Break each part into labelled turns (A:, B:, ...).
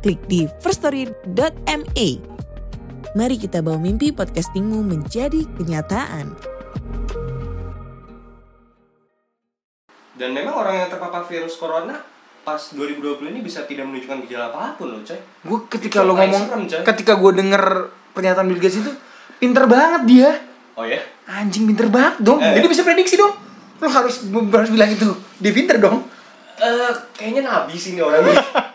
A: klik di firststory.me. Mari kita bawa mimpi podcastingmu menjadi kenyataan.
B: Dan memang orang yang terpapar virus corona pas 2020 ini bisa tidak menunjukkan gejala apapun loh coy.
C: gue ketika lo
B: Paling
C: ngomong
B: serem, coy.
C: ketika gue denger pernyataan Bill Gates itu pinter banget dia
B: Oh ya?
C: anjing pinter banget dong
B: Eh.
C: jadi bisa prediksi dong lo harus harus bilang itu dia pinter dong
B: Eh kayaknya nabi sih ini orang ini.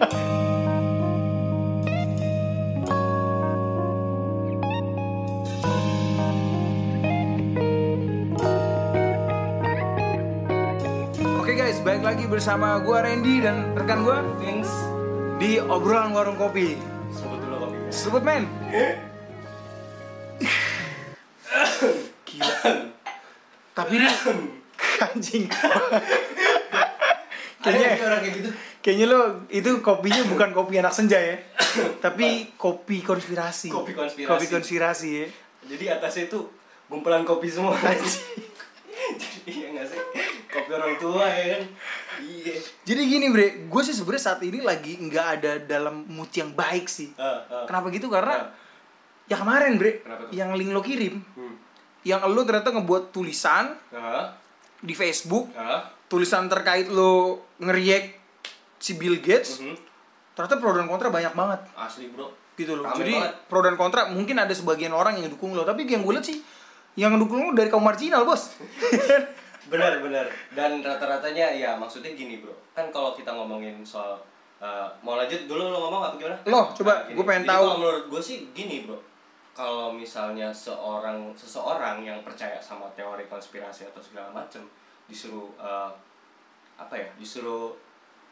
C: oke guys balik lagi bersama gue Randy dan rekan gue
B: Things
C: di obrolan warung kopi
B: sebut dulu kopinya.
C: sebut men tapi ini anjing
B: Ada
C: Kayaknya-
B: nggak sih orang kayak gitu.
C: kayaknya lo itu kopinya bukan kopi anak senja ya tapi kopi konspirasi
B: Kopi konspirasi.
C: kopi konspirasi ya
B: Jadi atasnya itu gumpulan kopi semua. Jadi iya nggak sih? Kopi orang tua ya kan. Iya.
C: Jadi gini bre, gue sih sebenarnya saat ini lagi nggak ada dalam mood yang baik sih.
B: Eh, eh.
C: Kenapa
B: Eh.
C: gitu? Karena ya kemarin bre,
B: Kenapa tuh?
C: yang link lo kirim,
B: Hmm.
C: yang lo ternyata ngebuat tulisan
B: Ah,
C: di Facebook,
B: ah,
C: tulisan terkait lo ngeriak si Bill Gates,
B: mhm.
C: ternyata pro dan kontra banyak banget
B: Asli bro.
C: gitu loh.
B: Rame
C: Jadi
B: banget.
C: pro dan kontra mungkin ada sebagian orang yang dukung lo, tapi yang gue liat sih yang dukung lo dari kaum marginal bos.
B: benar benar dan rata-ratanya ya maksudnya gini bro kan kalau kita ngomongin soal eh, mau lanjut dulu lo ngomong apa gimana Nah,
C: Loh, coba,
B: gini.
C: Nah, gua pengen
B: Jadi
C: tahu.
B: kalau menurut gue sih gini bro kalau misalnya seorang seseorang yang percaya sama teori konspirasi atau segala macem disuruh eh, apa ya disuruh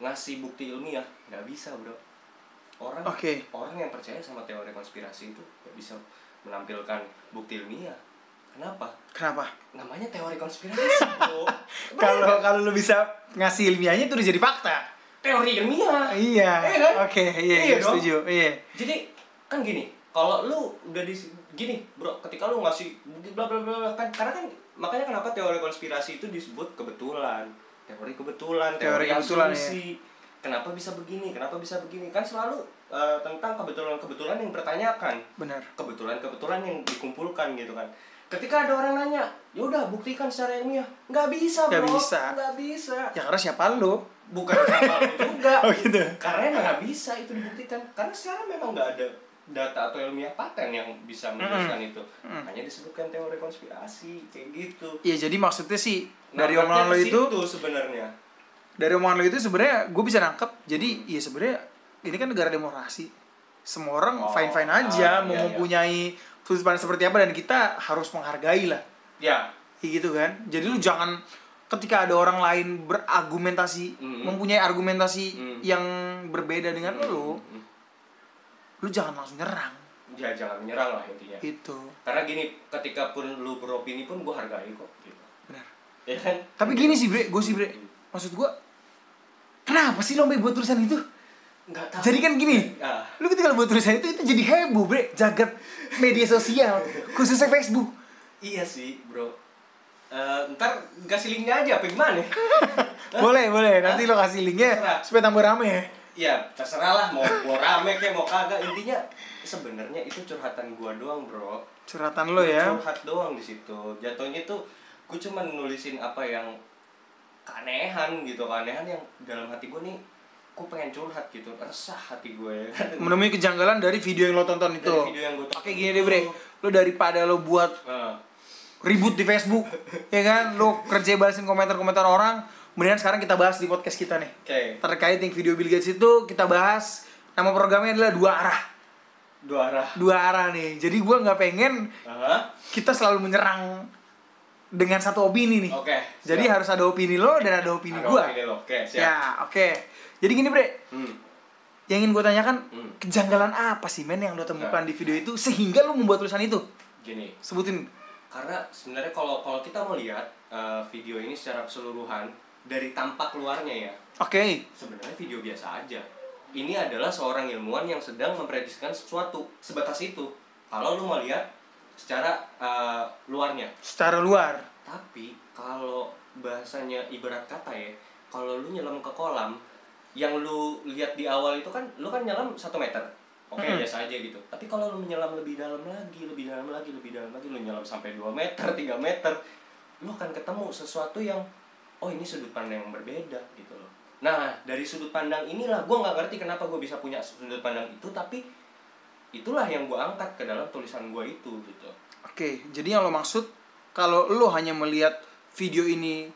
B: ngasih bukti ilmiah nggak bisa bro orang
C: Oke.
B: orang yang percaya sama teori konspirasi itu nggak bisa menampilkan bukti ilmiah kenapa
C: Kenapa?
B: namanya teori konspirasi bro
C: Kalau kalau lo bisa ngasih ilmiahnya itu udah jadi fakta.
B: teori ilmiah
C: Iya.
B: Iya kan?
C: Oke, iya,
B: Iya
C: iya
B: dong.
C: setuju. Iya.
B: jadi kan gini kalau lu udah di gini bro ketika lu ngasih bla bla bla bla, kan karena kan makanya kenapa teori konspirasi itu disebut kebetulan teori kebetulan teori,
C: Teori kebetulan, iya.
B: asumsi kenapa bisa begini kenapa bisa begini kan selalu eh, tentang kebetulan kebetulan yang pertanyakan
C: Benar.
B: kebetulan kebetulan yang dikumpulkan gitu kan ketika ada orang nanya yaudah buktikan secara ilmiah nggak bisa
C: Nggak
B: bro
C: bisa.
B: nggak bisa
C: Ya karena siapa lu?
B: bukan sama lu juga
C: Oh, gitu.
B: karena emang nggak bisa itu dibuktikan karena sekarang memang nggak ada data atau ilmiah paten yang bisa menjelaskan itu hanya disebutkan teori konspirasi kayak gitu
C: Ya jadi maksudnya sih dari
B: Nah,
C: omongan lo
B: makanya ke
C: itu,
B: situ sebenarnya
C: dari omongan lo itu sebenarnya gue bisa nangkep. Jadi ya sebenarnya ini kan negara demokrasi. Semua orang
B: Oh,
C: fine-fine
B: ah, iya,
C: aja mau
B: iya.
C: mempunyai sudut pandang seperti apa dan kita harus menghargai lah.
B: ya
C: Kayak gitu kan. Jadi lu jangan ketika ada orang lain berargumentasi,
B: Mm.
C: mempunyai argumentasi
B: Mm.
C: yang berbeda dengan lo,
B: Mm.
C: lu jangan langsung nyerang.
B: ya jangan menyerang lah intinya
C: Gitu.
B: karena gini ketika pun lu beropini pun gue hargai kok gitu
C: Benar.
B: ya kan
C: Tapi gini sih bre, gue sih bre, maksud gue, kenapa sih lo sampai buat tulisan itu?
B: nggak tahu
C: Jadi kan gini,
B: Ah.
C: lo ketika lo buat tulisan itu, itu jadi heboh bre, jagat media sosial, khususnya Facebook.
B: iya sih bro Eh, ntar kasih linknya aja apa gimana ya?
C: Boleh, boleh, nanti lo
B: Terserah.
C: kasih linknya supaya tambah rame ya.
B: ya terserah lah mau gua rame kayak mau kagak intinya sebenarnya itu curhatan gua doang bro
C: Curhatan lo ya.
B: curhat doang di situ jatuhnya tuh gue cuma nulisin apa yang keanehan gitu keanehan yang dalam hati gue nih gue pengen curhat gitu resah hati gue ya kan
C: Menemui kejanggalan dari video yang lo tonton itu.
B: Dari video yang gua tonton
C: Oke gini deh bre, lo daripada lo buat
B: Nah,
C: ribut di Facebook, ya kan, lo kerja balasin komentar-komentar orang, mendingan sekarang kita bahas di podcast kita nih.
B: oke
C: terkait yang video Bill Gates itu kita bahas nama programnya adalah dua arah
B: dua arah
C: dua arah nih jadi gua nggak pengen
B: Aha,
C: kita selalu menyerang dengan satu opini nih
B: Oke,
C: jadi
B: siap.
C: harus ada opini lo dan ada opini
B: Ada
C: gua
B: opini lo, oke siap
C: ya oke jadi gini bre
B: Hmm,
C: yang ingin gue tanyakan
B: Hmm. Nah.
C: kejanggalan apa sih men yang lo temukan di video itu sehingga lo membuat tulisan itu
B: Gini,
C: sebutin
B: karena sebenarnya kalau kalau kita mau lihat eh, video ini secara keseluruhan dari tampak luarnya ya
C: oke
B: sebenarnya video biasa aja ini adalah seorang ilmuwan yang sedang memprediksikan sesuatu sebatas itu kalau lu mau lihat secara eh, luarnya
C: secara luar
B: tapi kalau bahasanya ibarat kata ya kalau lu nyelam ke kolam yang lu lihat di awal itu kan lu kan nyelam satu meter oke
C: Mm-mm.
B: biasa aja gitu tapi kalau lu nyelam lebih dalam lagi lebih dalam lagi lebih dalam lagi lu nyelam sampai 2 meter 3 meter lu akan ketemu sesuatu yang oh ini sudut pandang yang berbeda gitu loh nah dari sudut pandang inilah gue nggak ngerti kenapa gue bisa punya sudut pandang itu tapi itulah yang gue angkat ke dalam tulisan gue itu gitu
C: oke jadi yang lo maksud kalau lo hanya melihat video ini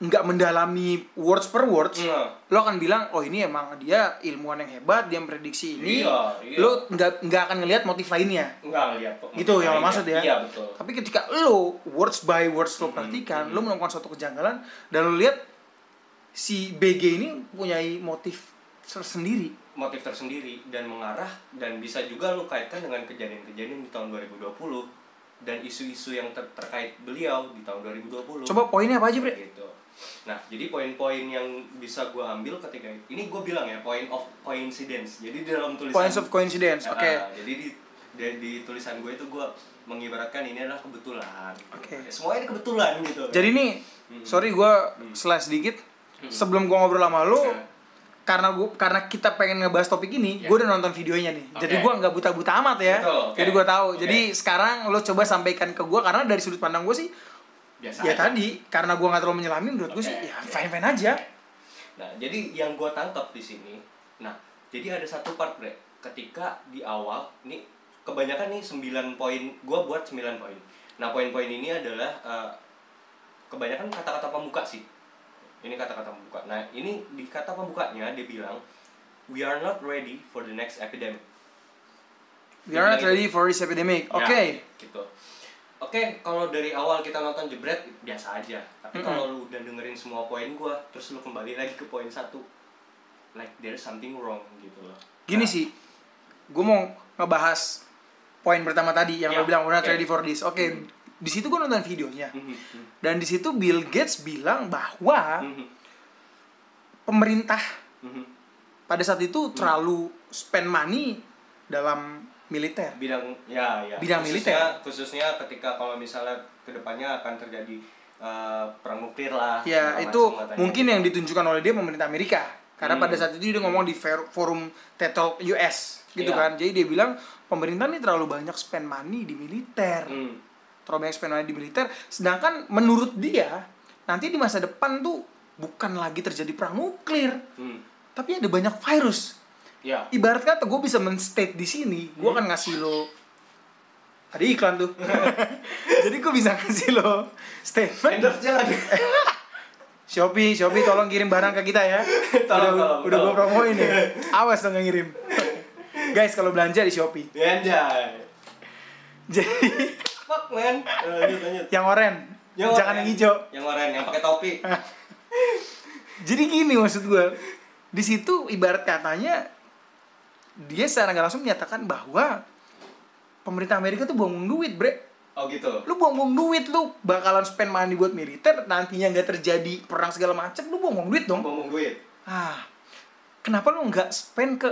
C: nggak mendalami words per words
B: Nah,
C: lo akan bilang oh ini emang dia ilmuwan yang hebat dia memprediksi ini
B: Iya, iya.
C: lo nggak nggak akan ngelihat motif lainnya
B: nggak lihat kok.
C: gitu yang
B: Iya,
C: lo maksud ya
B: iya betul Hmm,
C: tapi ketika lo words by words lo perhatikan lo menemukan suatu kejanggalan dan lo lihat si BG ini mempunyai motif tersendiri
B: motif tersendiri dan mengarah dan bisa juga lu kaitkan dengan kejadian-kejadian di tahun 2020 dan isu-isu yang ter- terkait beliau di tahun 2020.
C: coba poinnya apa aja bre
B: gitu. Nah, jadi poin-poin yang bisa gua ambil ketika ini gue bilang ya point of coincidence. Jadi di dalam tulisan
C: points of coincidence oke
B: Ah, jadi di di, di tulisan gue itu gue mengibaratkan ini adalah kebetulan.
C: Oke.
B: Semuanya ini kebetulan gitu.
C: jadi nih sorry gue
B: Hmm.
C: slash sedikit sebelum gue ngobrol sama lo
B: Ya.
C: karena gua karena kita pengen ngebahas topik ini
B: Ya.
C: gue udah nonton videonya nih jadi
B: Oke.
C: gue nggak buta buta amat ya
B: Betul, oke.
C: jadi gue tahu
B: Oke.
C: jadi sekarang lo coba sampaikan ke gue karena dari sudut pandang gue sih
B: biasa.
C: ya
B: aja.
C: tadi karena gue nggak terlalu menyelami menurut gue
B: Oke.
C: sih ya fine fine aja
B: Nah, jadi yang gue tangkap di sini, nah, jadi ada satu part, Bre. Ketika di awal, ini kebanyakan nih 9 poin, gue buat 9 poin. Nah, poin-poin ini adalah eh, kebanyakan kata-kata pembuka sih. Ini kata-kata pembuka. Nah, ini di kata pembukanya dia bilang, We are not ready for the next epidemic.
C: We are not ready for this epidemic. Oke.
B: Iya, Ya, gitu. Oke, kalau dari awal kita nonton jebret biasa aja. Tapi
C: Mm-mm.
B: kalau lu udah dengerin semua poin gua, terus lu kembali lagi ke poin satu, like there's something wrong gitu loh. Nah,
C: Gini sih, gue mau ngebahas poin pertama tadi yang
B: Ya,
C: lo bilang we're not
B: oke.
C: ready for this. Oke,
B: Hmm.
C: di situ gue nonton videonya
B: mhm, mhm,
C: dan di situ Bill Gates bilang bahwa
B: mhm,
C: pemerintah
B: mhm.
C: pada saat
B: Hmm.
C: itu terlalu spend money dalam militer.
B: Bidang ya ya.
C: Bidang
B: Khususnya- Khususnya ketika kalau misalnya kedepannya akan terjadi eh, perang nuklir lah.
C: Ya
B: segala
C: itu
B: macam katanya.
C: mungkin yang ditunjukkan oleh dia pemerintah Amerika karena
B: Hmm.
C: pada saat itu dia ngomong di fer- forum TED Talk US gitu
B: Iya.
C: kan. Jadi dia bilang pemerintah nih terlalu banyak spend money di militer.
B: Hmm,
C: terlalu banyak spend money di militer. Sedangkan menurut dia nanti di masa depan tuh bukan lagi terjadi perang nuklir,
B: hmm.
C: tapi ada banyak virus.
B: Ya.
C: Ibarat kata gue bisa men-state di sini, gue akan
B: Hmm.
C: ngasih lo ada iklan tuh. Jadi gue bisa ngasih lo statement.
B: Endorse jangan.
C: Shopee, Shopee tolong kirim barang ke kita ya.
B: Tolong, tolong,
C: udah udah gue
B: tolong.
C: promoin ya. Awas dong yang ngirim. Guys kalau belanja di Shopee.
B: Ya, anjay.
C: Jadi
B: Fuck man. Eh, Lanjut lanjut.
C: yang oren,
B: Yang
C: jangan
B: oranye.
C: yang hijau.
B: Yang oranye yang pakai topi.
C: Jadi gini maksud gue, di situ ibarat katanya dia secara nggak langsung menyatakan bahwa pemerintah Amerika tuh buang duit, bre.
B: Oh gitu.
C: Lu buang duit, lu bakalan spend money buat militer, nantinya nggak terjadi perang segala macem, lu buang duit dong.
B: Ngomong duit.
C: Ah, kenapa lu nggak spend ke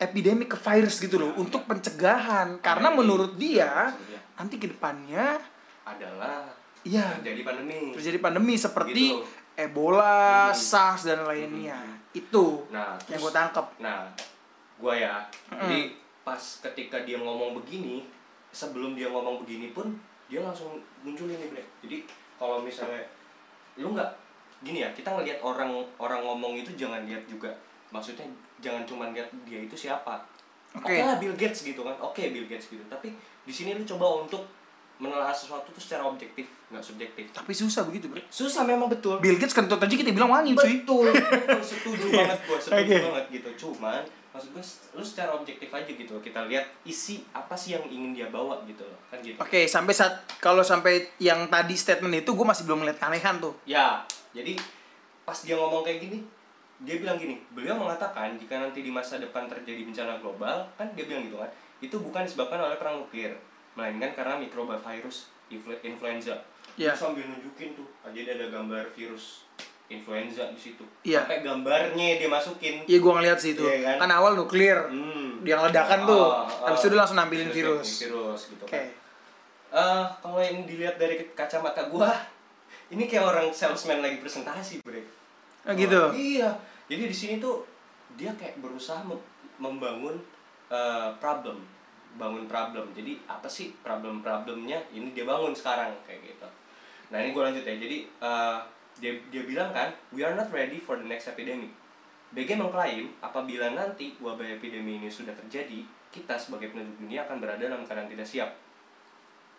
C: epidemi ke virus gitu
B: Iya,
C: loh untuk pencegahan? Karena menurut dia nanti kedepannya
B: adalah
C: ya
B: terjadi pandemi.
C: terjadi pandemi seperti
B: Gitu.
C: Ebola,
B: Mhm.
C: SARS dan lainnya. Itu
B: Nah,
C: yang
B: terus,
C: gue tangkep.
B: nah, gua ya.
C: Mm.
B: Jadi pas ketika dia ngomong begini, sebelum dia ngomong begini pun dia langsung muncul ini, Bre. Jadi kalau misalnya lu nggak gini ya, kita ngelihat orang orang ngomong itu jangan lihat juga. Maksudnya jangan cuma lihat dia itu siapa. Oke
C: Oke.
B: lah Bill Gates gitu kan. Oke Bill Gates gitu. Tapi di sini lu coba untuk menelaah sesuatu itu secara objektif, nggak subjektif.
C: Tapi susah begitu, Bro.
B: Susah memang betul.
C: Bill Gates kentut aja kita bilang wangi, cuy.
B: betul betul setuju banget gue setuju
C: Iya. Oke.
B: banget gitu cuman maksud gue lu secara objektif aja gitu loh. kita lihat isi apa sih yang ingin dia bawa gitu loh kan gitu
C: Oke, sampai saat kalau sampai yang tadi statement itu gue masih belum melihat keanehan tuh.
B: ya jadi pas dia ngomong kayak gini dia bilang gini beliau mengatakan jika nanti di masa depan terjadi bencana global kan dia bilang gitu kan itu bukan disebabkan oleh perang nuklir melainkan karena mikroba virus influ- influenza
C: Iya.
B: Terus sambil nunjukin tuh jadi ada gambar virus influenza di situ
C: Iya.
B: sampai gambarnya dia masukin
C: Iya gue ngeliat sih itu.
B: Iya
C: kan?
B: kan?
C: awal nuklir,
B: Hmm.
C: yang ledakan tuh.
B: Ah, ah.
C: Habis itu dia langsung nampilin
B: Terus
C: virus.
B: nampilin virus gitu
C: Oke.
B: kan. Eh, kalau yang dilihat dari ke- kacamata gua, ini kayak orang salesman lagi presentasi, Bre.
C: Ah, gitu.
B: Oh, iya. Jadi di sini tuh dia kayak berusaha mem- membangun eh, problem, bangun problem. Jadi apa sih problem-problemnya? Ini dia bangun sekarang kayak gitu. Nah, ini gua lanjut ya. Jadi eh, dia dia bilang kan, we are not ready for the next epidemic. BG mengklaim apabila nanti wabah epidemi ini sudah terjadi, kita sebagai penduduk dunia akan berada dalam keadaan tidak siap.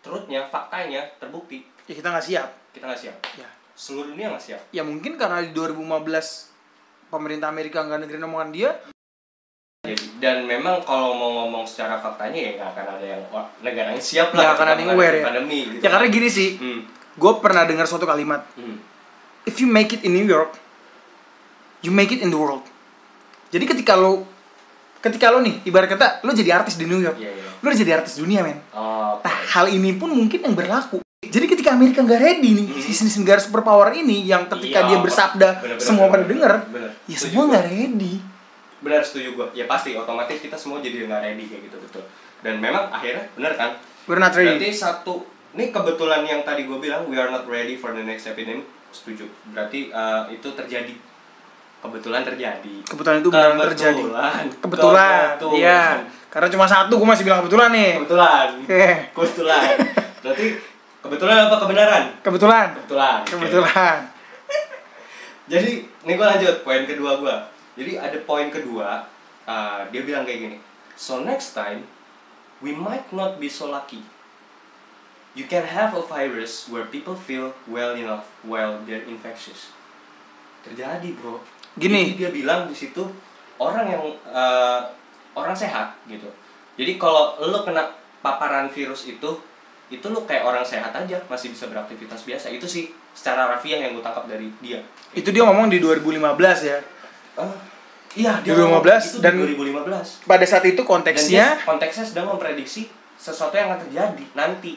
B: Terutnya, faktanya terbukti
C: Ya kita nggak siap.
B: kita nggak siap.
C: Ya.
B: Seluruh dunia nggak siap.
C: ya mungkin karena di 2015 pemerintah Amerika nggak dengerin omongan dia.
B: Jadi, dan memang kalau mau ngomong secara faktanya ya nggak akan ada yang wah, negara yang siap
C: Nggak
B: lah gitu
C: akan ada yang
B: ketika
C: aware
B: menghadapi
C: ya.
B: pandemi gitu.
C: Ya karena gini sih,
B: Hmm,
C: gue pernah dengar suatu kalimat.
B: hmm.
C: If you make it in New York, you make it in the world. Jadi ketika lo, ketika lo nih, ibarat kata lo jadi artis di New York,
B: Iya, iya.
C: lo udah jadi artis dunia men.
B: Oh, oke.
C: Nah, hal ini pun mungkin yang berlaku. Jadi ketika Amerika nggak ready nih,
B: Hmm.
C: si negara superpower ini yang ketika
B: Iya,
C: dia bersabda
B: bener-bener,
C: semua pada
B: bener-bener,
C: denger,
B: bener.
C: ya
B: Setuju
C: semua
B: gua.
C: nggak ready.
B: benar setuju gua ya pasti otomatis kita semua jadi nggak ready kayak gitu betul dan memang akhirnya benar kan
C: We're not
B: berarti
C: ready.
B: satu ini kebetulan yang tadi gue bilang we are not ready for the next epidemic setuju berarti eh, itu terjadi kebetulan terjadi
C: Kebetulan itu benar terjadi.
B: Kebetulan.
C: Kebetulan.
B: Kebetulan.
C: Iya. Karena cuma satu, gue masih bilang kebetulan nih.
B: kebetulan
C: Oke.
B: kebetulan berarti kebetulan apa kebenaran
C: Kebetulan.
B: kebetulan Oke.
C: Kebetulan.
B: Jadi, ini gue lanjut poin kedua gue. Jadi ada poin kedua, uh, dia bilang kayak gini. So next time, we might not be so lucky. You can have a virus where people feel well enough while they're infectious. Terjadi bro.
C: Gini.
B: Jadi dia bilang di situ orang yang uh, orang sehat gitu. Jadi kalau lo kena paparan virus itu, itu lo kayak orang sehat aja masih bisa beraktivitas biasa. Itu sih secara rafiah yang gue tangkap dari dia.
C: Itu dia ngomong di 2015 ya.
B: Ah, iya, dia
C: 2015
B: ngomong itu di
C: dan-
B: 2015.
C: Pada saat itu
B: Dan dia
C: konteksnya,
B: konteksnya sedang memprediksi sesuatu yang akan terjadi nanti.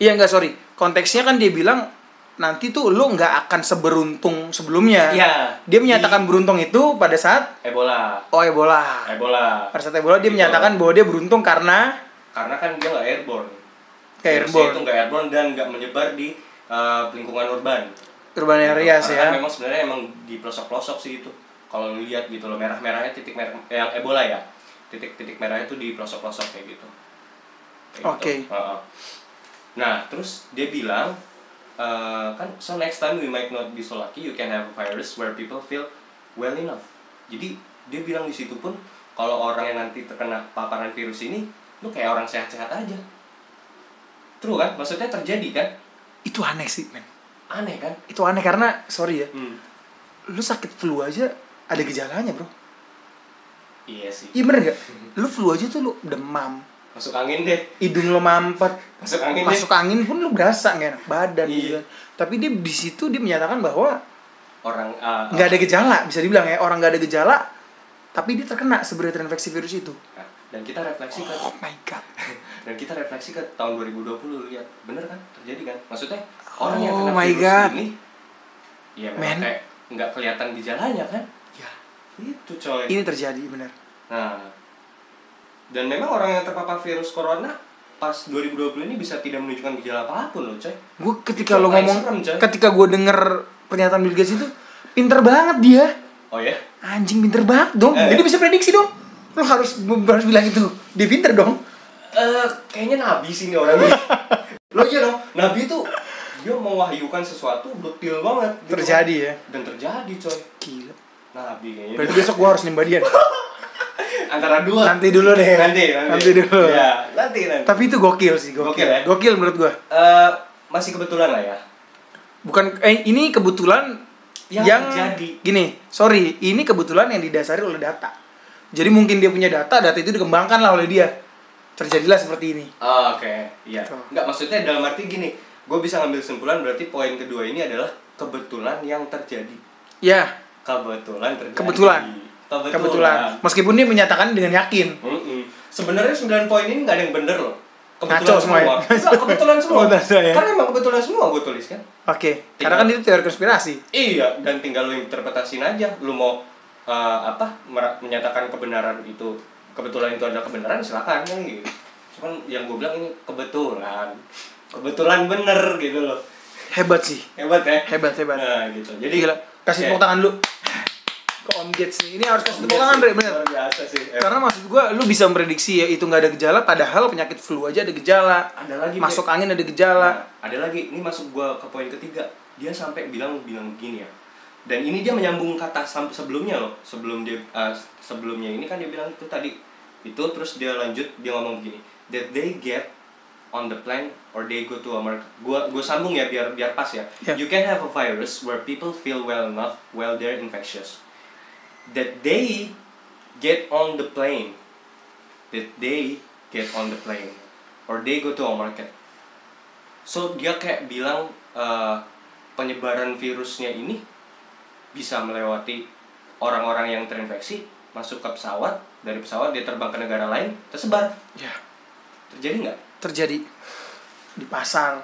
C: iya nggak sorry, konteksnya kan dia bilang nanti tuh lo nggak akan seberuntung sebelumnya.
B: Iya.
C: Nah, Dia menyatakan beruntung itu pada saat
B: Ebola.
C: oh Ebola.
B: Ebola.
C: Pada saat Ebola dia
B: Gitu.
C: menyatakan bahwa dia beruntung karena
B: Karena kan dia nggak airborne.
C: Nggak
B: Virusnya
C: airborne.
B: Iya, Itu nggak airborne dan nggak menyebar di eh, lingkungan urban.
C: urban areas
B: Karena kan
C: ya.
B: memang sebenarnya emang di pelosok-pelosok sih itu. Kalau lu lihat gitu loh merah-merahnya titik merah yang Ebola ya. Titik-titik merahnya itu di pelosok-pelosok kayak gitu. Kayak gitu.
C: Oke.
B: Heeh. Nah, terus dia bilang eh, kan so next time we might not be so lucky you can have a virus where people feel well enough. Jadi dia bilang di situ pun kalau orang yang nanti terkena paparan virus ini lu kayak orang sehat-sehat aja. True kan? Maksudnya terjadi kan?
C: Itu aneh sih, men.
B: Aneh kan?
C: Itu aneh karena sorry ya,
B: Hmm.
C: lu sakit flu aja ada gejalanya, Bro.
B: Iya sih.
C: Iya bener gak? Lu flu aja tuh lu demam
B: Masuk angin deh.
C: Hidung lu mampet
B: Masuk angin deh.
C: Masuk angin pun lu berasa gak enak badan
B: Iya.
C: gitu kan. Tapi dia di situ dia menyatakan bahwa
B: orang ah,
C: nggak ada gejala bisa dibilang ya orang nggak ada gejala tapi dia terkena sebenarnya terinfeksi virus itu.
B: Nah, dan kita refleksi ke
C: Oh my god.
B: dan kita refleksi ke tahun 2020 lu lihat bener kan terjadi kan maksudnya orang yang
C: Oh
B: kena
C: my
B: virus
C: God.
B: ini ya
C: Man.
B: memang kayak nggak kelihatan gejalanya kan
C: Ya,
B: itu coy
C: ini terjadi bener.
B: nah dan memang orang yang terpapar virus corona pas 2020 ini bisa tidak menunjukkan gejala apapun loh coy
C: Gue ketika
B: Itu
C: lo
B: paling
C: ngomong,
B: serem, coy.
C: ketika gue denger pernyataan Bill Gates itu, pinter banget dia.
B: oh ya
C: Anjing pinter banget dong.
B: Eh.
C: Jadi bisa prediksi dong. Lo harus harus bilang itu. Dia pinter dong.
B: Eh, kayaknya nabi sih ini orang ini. Lo aja dong, nabi itu dia mewahyukan sesuatu betul banget. gitu kan.
C: Terjadi ya.
B: Dan terjadi coy.
C: Gila.
B: Nabi kayaknya.
C: Berarti besok gue harus nyembah dia. nih.
B: Antara dua.
C: Nanti dulu deh.
B: Nanti, nanti.
C: Nanti dulu.
B: Ya, nanti, nanti.
C: Tapi itu gokil sih, gokil. Gokil,
B: Gokil ya?
C: menurut gua.
B: Eh, masih kebetulan lah ya.
C: Bukan eh ini kebetulan yang,
B: Yang terjadi.
C: gini, sorry, ini kebetulan yang didasari oleh data. Jadi mungkin dia punya data, data itu dikembangkan lah oleh dia. Terjadilah seperti ini.
B: Oh, Oke, iya.
C: Betul.
B: Enggak maksudnya dalam arti gini, gue bisa ngambil kesimpulan berarti poin kedua ini adalah kebetulan yang terjadi.
C: Ya,
B: kebetulan terjadi.
C: Kebetulan.
B: Kebetulan. ya.
C: Kebetulan. Meskipun dia menyatakan dengan yakin.
B: Mm-mm. Sebenarnya 9 poin ini nggak ada yang bener loh. Kebetulan
C: Kacau
B: semua.
C: semua ya?
B: Enggak, kebetulan semua.
C: Kebetulan semua ya?
B: Karena emang kebetulan semua gue tulis kan.
C: Oke. Karena kan itu teori konspirasi.
B: Iya, dan tinggal lu interpretasiin aja. Lu mau eh, apa mer- menyatakan kebenaran itu kebetulan itu adalah kebenaran silakan kan gitu. Cuman yang gue bilang ini kebetulan. Kebetulan bener gitu loh.
C: Hebat sih.
B: Hebat ya.
C: Hebat hebat.
B: Nah, gitu. Jadi
C: Gila. Kasih tepuk
B: kayak-
C: tangan lu. Ke Om Gates nih. Ini harus kasih tepuk
B: Iya
C: tangan,
B: sih,
C: Bre. Bener.
B: Luar biasa sih. Eh,
C: Karena maksud gua lu bisa memprediksi ya itu nggak ada gejala padahal penyakit flu aja ada gejala.
B: ada lagi Bre.
C: Masuk angin ada gejala.
B: Nah, ada lagi, ini masuk gua ke poin ketiga. Dia sampai bilang bilang begini ya. Dan ini dia menyambung kata sam- sebelumnya loh. Sebelum dia eh, sebelumnya ini kan dia bilang itu tadi itu terus dia lanjut dia ngomong begini. That they get on the plane or they go to a market. Gua gua sambung ya biar biar pas ya.
C: Yeah.
B: You can have a virus where people feel well enough while they're infectious. That they get on the plane. That they get on the plane or they go to a market. So dia kayak bilang eh, penyebaran virusnya ini bisa melewati orang-orang yang terinfeksi masuk ke pesawat dari pesawat dia terbang ke negara lain tersebar
C: Ya,
B: terjadi nggak?
C: terjadi di pasar.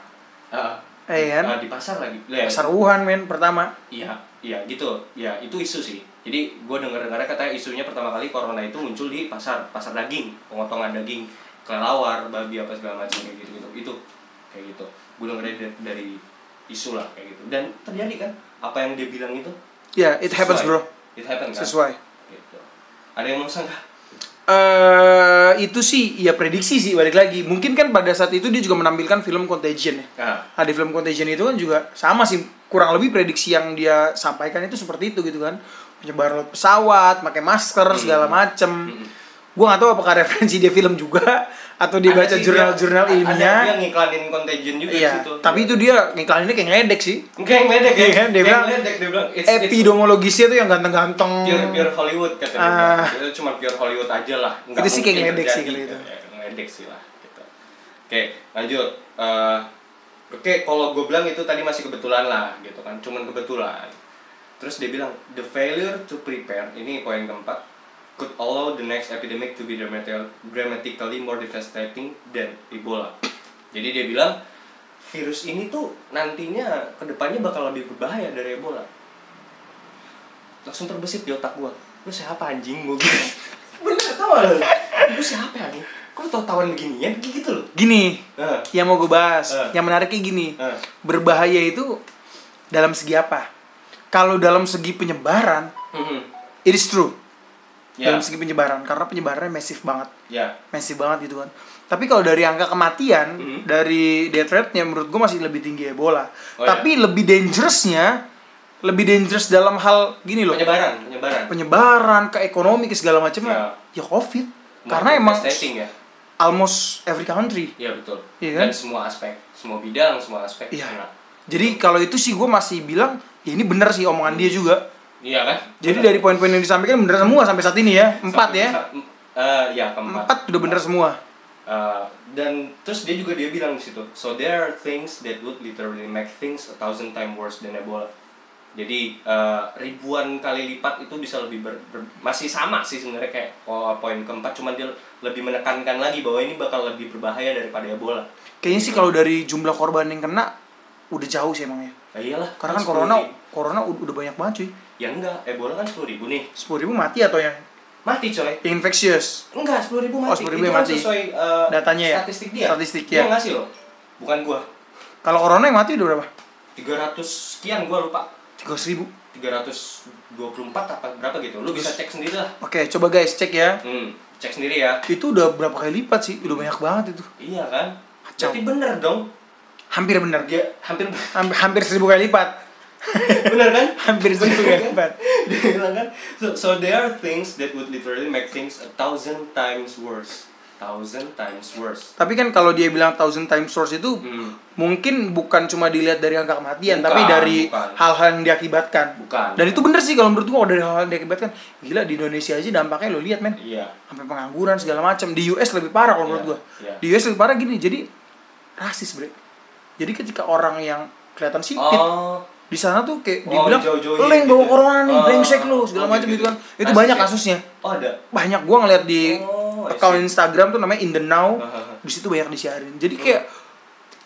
B: Ah,
C: Eh kan?
B: ah, di pasar lagi. Ya,
C: Pasar Wuhan men pertama.
B: Iya, iya gitu. Ya itu isu sih. Jadi gue denger dengar katanya isunya pertama kali corona itu muncul di pasar pasar daging, pemotongan daging, kelelawar, babi apa segala macam kayak gitu gitu. Itu kayak gitu. Gue dengernya da- dari isu lah kayak gitu. Dan terjadi kan apa yang dia bilang itu?
C: Ya, it happens
B: Sesuai.
C: bro.
B: It happen kan.
C: Sesuai.
B: Gitu. Ada yang mau sangka?
C: eh itu sih ya prediksi sih balik lagi. Mungkin kan pada saat itu dia juga menampilkan film Contagion ya.
B: Nah,
C: Nah, di film Contagion itu kan juga sama sih kurang lebih prediksi yang dia sampaikan itu seperti itu gitu kan. Penyebaran lewat pesawat, pakai masker
B: Hmm.
C: segala macem. Gua nggak tahu apakah referensi dia film juga atau dia baca
B: ada sih
C: jurnal-jurnal
B: dia-
C: ilmiah.
B: Ada yang ngiklanin contagion juga di
C: Iya,
B: situ.
C: tapi itu dia ngiklaninnya kayak ngedek sih.
B: Enggak yang ledek ya.
C: Iya kan, dia
B: Yang
C: bilang,
B: ledek, dia bilang it's, it's
C: Epidemiologisnya tuh yang ganteng-ganteng.
B: pure pure Hollywood kata dia.
C: Eh, Ah.
B: Itu cuma pure Hollywood aja lah.
C: Itu sih kayak gitu.
B: mungkin
C: ngeledek sih
B: terjadi.
C: kalau itu.
B: Ya, Ngeledek sih lah. Gitu. Oke, lanjut. Eh, Oke, kalau gue bilang itu tadi masih kebetulan lah, gitu kan, cuman kebetulan. Terus dia bilang the failure to prepare ini poin keempat could allow the next epidemic to be dramatic- dramatically more devastating than Ebola. Jadi dia bilang virus ini tuh nantinya kedepannya bakal lebih berbahaya dari Ebola langsung terbesit di otak gua lu siapa anjing gua gitu bener tau gak lu lu siapa anjing kok lu tau tawan beginian Kayak gitu loh
C: Gini,
B: Heeh.
C: yang mau gue bahas,
B: Eh.
C: yang menariknya gini.
B: Eh.
C: Berbahaya itu dalam segi apa? Kalau dalam segi penyebaran,
B: Mhm.
C: it is true.
B: ya
C: Dalam segi penyebaran karena penyebarannya masif banget.
B: ya
C: Masif banget gitu kan. Tapi kalau dari angka kematian,
B: Mhm.
C: dari death rate-nya menurut gue masih lebih tinggi Ebola.
B: Oh,
C: Tapi lebih dangerous-nya, lebih dangerous dalam hal gini loh.
B: penyebaran penyebaran
C: penyebaran ke ekonomi ke segala macamnya ya covid karena emang
B: Multifaceting ya
C: almost every country
B: iya betul
C: Iya kan?
B: dan semua aspek semua bidang semua aspek
C: Iya.
B: kena.
C: jadi kalau itu sih gue masih bilang ya ini bener sih omongan dia juga
B: iya kan
C: jadi dari poin-poin yang disampaikan bener semua sampai saat ini ya empat ya
B: Eh, ya keempat
C: empat udah bener semua
B: Uh, dan terus dia juga dia bilang di situ so there are things that would literally make things a thousand times worse than Ebola jadi uh, ribuan kali lipat itu bisa lebih ber, ber- masih sama sih sebenarnya kayak po- poin keempat cuman dia lebih menekankan lagi bahwa ini bakal lebih berbahaya daripada Ebola
C: kayaknya sih kalau dari jumlah korban yang kena udah jauh sih emangnya
B: nah, iyalah
C: karena kan
B: 10.000.
C: corona corona u- udah banyak banget cuy
B: ya enggak Ebola kan sepuluh ribu nih
C: sepuluh ribu mati atau yang
B: mati coy
C: yang infectious
B: enggak sepuluh ribu
C: Oh,
B: mati
C: 10.000
B: itu
C: yang
B: kan
C: mati.
B: sesuai uh,
C: Datanya ya?
B: statistik dia
C: Statistik,
B: dia
C: ya.
B: ngasih loh bukan gua
C: kalau corona yang mati udah berapa
B: 300 sekian gua lupa
C: tiga ribu
B: 324 apa berapa gitu. Lu bisa cek sendiri lah.
C: oke coba guys cek ya
B: Hmm, cek sendiri ya.
C: itu udah berapa kali lipat sih udah banyak banget itu
B: Iya kan?
C: Kacau.
B: Jadi bener dong.
C: hampir bener
B: Dia hampir bener
C: hampir, hampir seribu kali lipat
B: kan?
C: hampir seribu kali lipat
B: Dia bilang kan, so, so there are things that would literally make things a thousand times worse. Thousand times worse.
C: tapi kan kalau dia bilang thousand times source itu
B: Hmm,
C: mungkin bukan cuma dilihat dari angka kematian
B: Bukan,
C: tapi dari
B: bukan.
C: hal-hal yang diakibatkan
B: bukan.
C: dan itu bener sih kalau menurut gua kalau dari hal-hal yang diakibatkan gila di Indonesia aja dampaknya lo lihat men
B: iya.
C: sampai pengangguran segala macam di US lebih parah kalau menurut
B: Iya,
C: gua
B: iya.
C: di US lebih parah gini jadi rasis bre jadi ketika orang yang kelihatan sipit
B: Oh,
C: di sana tuh kayak
B: Oh,
C: dibilang
B: jauh-jauhin
C: lo yang bawa
B: gitu.
C: corona nih
B: Ah,
C: brengsek lu segala
B: oh,
C: macam
B: gitu.
C: gitu kan itu
B: Kasusnya.
C: banyak kasusnya
B: Oh ada.
C: banyak gua ngeliat
B: Oh, I
C: di
B: see. Ah,
C: account Instagram tuh namanya in the now
B: Hahaha.
C: di situ banyak disiarin jadi
B: Hmm.
C: kayak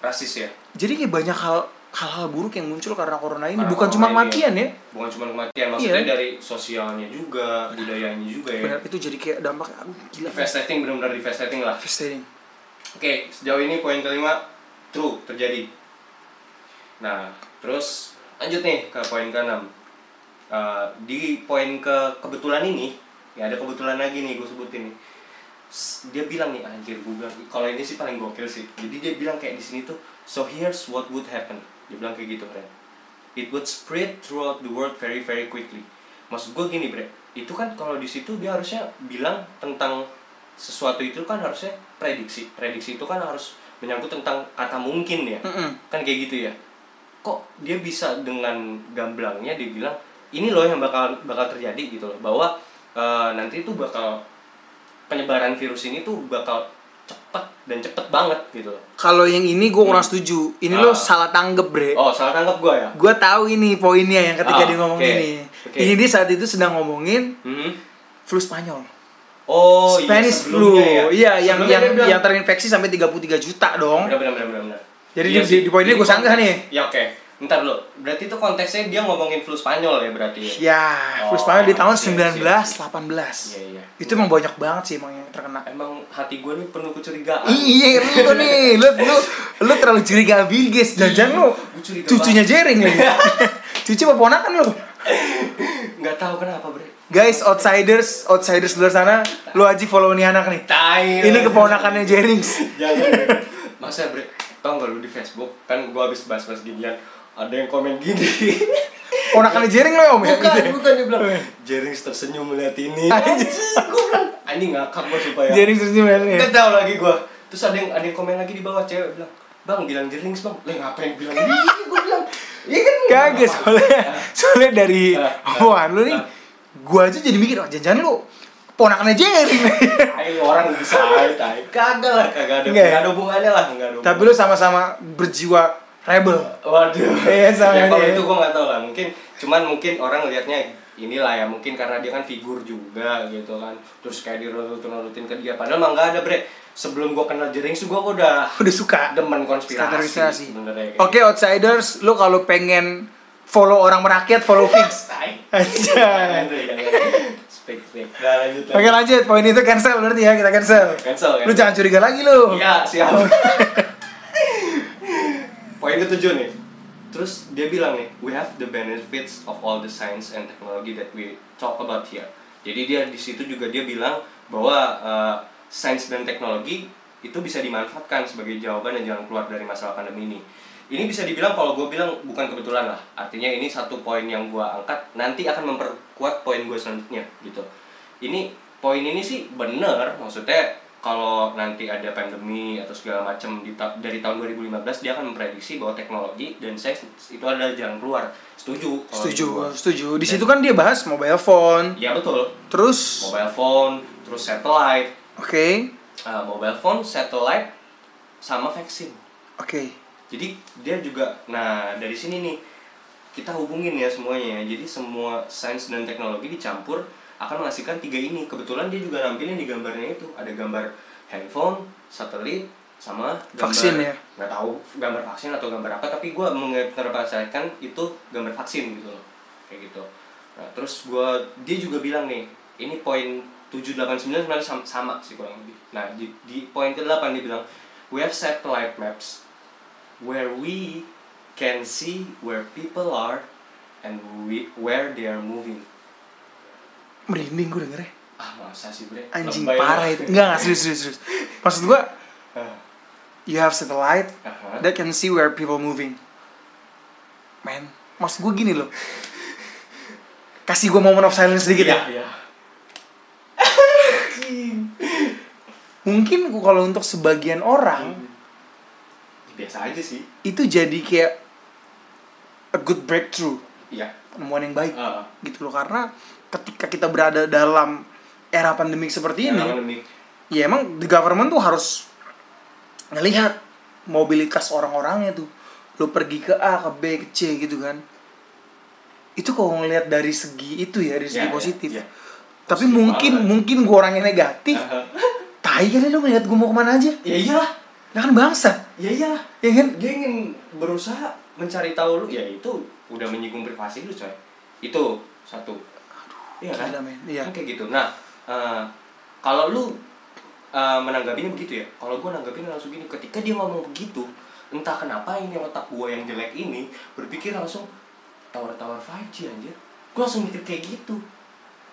B: Rasis ya.
C: jadi kayak banyak hal hal-hal buruk yang muncul karena corona ini
B: Karena
C: bukan cuma
B: corona ini.
C: kematian ya
B: Bukan cuma kematian maksudnya
C: Iya.
B: dari sosialnya juga, budayanya juga ya.
C: benar itu jadi kayak dampaknya aduh gila
B: Devastating benar-benar devastating lah.
C: devastating
B: Oke, sejauh ini poin kelima true terjadi. Nah, terus lanjut nih ke poin keenam. Eh, di poin ke kebetulan ini, ya ada kebetulan lagi nih gue sebutin nih. S- Dia bilang nih anjir gue bilang kalau ini sih paling gokil sih. Jadi dia bilang kayak di sini tuh so here's what would happen. Dia bilang kayak gitu, Bre. It would spread throughout the world very very quickly. Maksud gue gini, Bre. Itu kan kalau di situ dia harusnya bilang tentang sesuatu itu kan harusnya prediksi. Prediksi itu kan harus menyangkut tentang kata mungkin ya
C: Mm-mm.
B: kan kayak gitu ya kok dia bisa dengan gamblangnya dia bilang ini loh yang bakal bakal terjadi gitu loh bahwa eh, nanti itu bakal penyebaran virus ini tuh bakal cepet dan cepet banget gitu loh
C: kalau yang ini gue kurang setuju ini
B: Ah.
C: lo salah tanggep bre
B: oh salah tangkap gue ya
C: gue tahu ini poinnya yang ketika
B: Ah,
C: dia ngomong
B: oke.
C: ini
B: Oke.
C: ini dia saat itu sedang ngomongin
B: Mhm.
C: flu Spanyol
B: oh iya,
C: Spanish flu
B: sebelumnya ya.
C: iya yang
B: Sebelumnya
C: yang
B: dia bilang-
C: yang terinfeksi sampai 33 juta dong
B: benar benar benar benar, benar.
C: Jadi
B: Iya
C: di-
B: sih.
C: di poin ini
B: Jadi
C: gua sanggah
B: konteks-
C: nih.
B: ya oke ntar lo berarti itu konteksnya dia ngomongin flu Spanyol ya berarti ya
C: ya flu
B: Oh,
C: Spanyol di tahun
B: siap,
C: 1918
B: Iya, iya.
C: itu emang banyak banget sih emang yang terkena
B: emang hati gue nih penuh kecurigaan
C: Iya, lu nih, lu lu lu terlalu curiga Bill Gates. Jangan lu
B: gua curiga
C: cucunya Jering lagi. Cucu keponakan lu.
B: nggak tahu kenapa bre
C: Guys, outsiders, outsiders luar sana, lu aji follow nih anak nih.
B: tai
C: Ini
B: lo.
C: keponakannya Jerings.
B: jangan Bre. masa ya. bre tau gak lu di Facebook kan gua habis bahas-bahas ginian ada yang komen gini
C: Ponakannya Jering lo ya, Om. ya?
B: bukan bukan dia bilang Jerings tersenyum melihat ini anjing gua bilang anjing ngakak gua supaya
C: Jerings eh. terus nyebelin.
B: gak tau lagi gua terus ada yang ada yang komen lagi di bawah cewek bilang bang bilang Jerings bang lah ngapain bilang ini gua bilang iya kan
C: Kagak soalnya soalnya dari
B: Ah, ah,
C: omongan lu nih,
B: ah.
C: gua aja jadi mikir, oh jangan-jangan lu ponakannya Jering.
B: Ayo orang bisa ayo tai kagak lah kagak ada
C: Nggak ya?
B: nggak ada hubungannya lah nggak ada
C: Tapi lu sama-sama berjiwa rebel.
B: Waduh.
C: Iya, sama
B: ya, kalau
C: dia.
B: itu gue nggak tahu lah. Mungkin cuman mungkin orang lihatnya inilah ya mungkin karena dia kan figur juga gitu kan. Terus kayak dirutin-rutin ke dia. Padahal mah nggak ada bre. Sebelum gue kenal Jering gue udah
C: Udah suka.
B: demen konspirasi.
C: Standar inspirasi.
B: Sebenarnya. kayak gitu.
C: Oke outsiders, lu kalau pengen follow orang merakyat follow fix.
B: Tai.
C: Anjay.
B: Speak speak. Nah, lanjut. lanjut.
C: Oke lanjut, poin itu cancel berarti ya kita cancel.
B: Cancel,
C: Lu
B: cancel.
C: jangan curiga lagi lu.
B: Iya, siap. Poin ketujuh nih. Terus dia bilang nih, we have the benefits of all the science and technology that we talk about here. Jadi dia di situ juga dia bilang bahwa eh, sains dan teknologi itu bisa dimanfaatkan sebagai jawaban dan jalan keluar dari masalah pandemi ini. Ini bisa dibilang kalau gue bilang bukan kebetulan lah. Artinya ini satu poin yang gue angkat nanti akan memperkuat poin gue selanjutnya gitu ini poin ini sih bener maksudnya kalau nanti ada pandemi atau segala macam di ta- dari tahun 2015 dia akan memprediksi bahwa teknologi dan sains itu adalah jalan keluar setuju kalau itu gua.
C: Setuju, setuju.
B: Iya.
C: Di situ kan dia bahas mobile phone,
B: ya betul
C: terus
B: mobile phone terus satellite
C: oke,
B: Ah, mobile phone satellite sama vaksin
C: oke.
B: jadi dia juga nah dari sini nih kita hubungin ya semuanya ya jadi semua sains dan teknologi dicampur akan menghasilkan tiga ini kebetulan dia juga nampilin di gambarnya itu ada gambar handphone satelit sama gambar,
C: Vaksin ya?
B: nggak tahu gambar vaksin atau gambar apa tapi gue menginterpretasikan itu gambar vaksin gitu loh kayak gitu nah, terus gue dia juga bilang nih ini poin 789 sebenarnya sama, sama sih kurang lebih nah di, di poin ke 8 dia bilang we have satellite maps where we can see where people are and we, where they are moving.
C: Merinding gue dengernya.
B: Ah, masa sih, Bre?
C: Anjing
B: Lebay
C: parah
B: banget.
C: itu. Enggak, enggak serius, serius, serius. Maksud gua
B: Ah,
C: you have satellite
B: Aha.
C: that can see where people moving. Man, maksud gua gini loh. Kasih gua moment of silence sedikit ya.
B: Iya, iya.
C: mungkin ku- kalau untuk sebagian orang
B: Hmm. Biasa aja sih.
C: itu jadi kayak a good breakthrough
B: Iya.
C: penemuan yang baik
B: Ah.
C: gitu loh karena ketika kita berada dalam era pandemik seperti ini
B: Pengalaman unik.
C: ya emang the government tuh harus ngelihat mobilitas orang-orangnya tuh lo pergi ke A ke B ke C gitu kan itu kalau ngelihat dari segi itu ya dari segi
B: Iya, iya,
C: positif
B: iya.
C: tapi
B: Positif
C: mungkin
B: banget.
C: mungkin gue orangnya negatif tai kali lu ngelihat gue mau kemana aja
B: ya iyalah
C: nah kan bangsa
B: ya iyalah
C: ya kan
B: dia ingin berusaha mencari tahu lu ya itu udah menyinggung privasi lu coy itu satu iya kan
C: gila, men. Iya.
B: Kan kayak gitu nah eh, kalau lu eh, menanggapinya begitu ya kalau gue nanggapin langsung gini ketika dia ngomong begitu entah kenapa ini otak gue yang jelek ini berpikir langsung tawar-tawar 5G anjir gue langsung mikir kayak gitu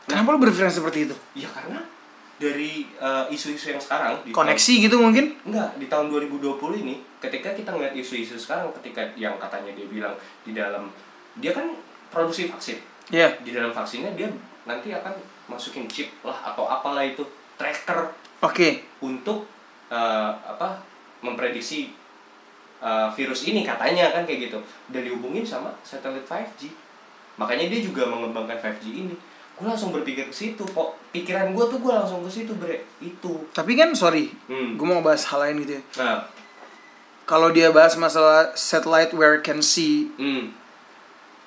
C: kenapa lu berpikiran seperti itu
B: ya karena dari eh, isu-isu yang sekarang di tahun-
C: koneksi gitu mungkin
B: Enggak, di tahun 2020 ini ketika kita ngeliat isu-isu sekarang ketika yang katanya dia bilang di dalam dia kan produksi vaksin.
C: ya
B: Di dalam vaksinnya dia nanti akan masukin chip lah atau apalah itu tracker
C: oke
B: untuk eh, apa memprediksi eh, virus ini katanya kan kayak gitu dan dihubungin sama satelit 5G makanya dia juga mengembangkan 5G ini gue langsung berpikir ke situ kok pikiran gue tuh gue langsung ke situ bre itu
C: tapi kan sorry
B: Hmm.
C: gue mau bahas hal lain gitu ya
B: nah
C: kalau dia bahas masalah satellite where it can see
B: hmm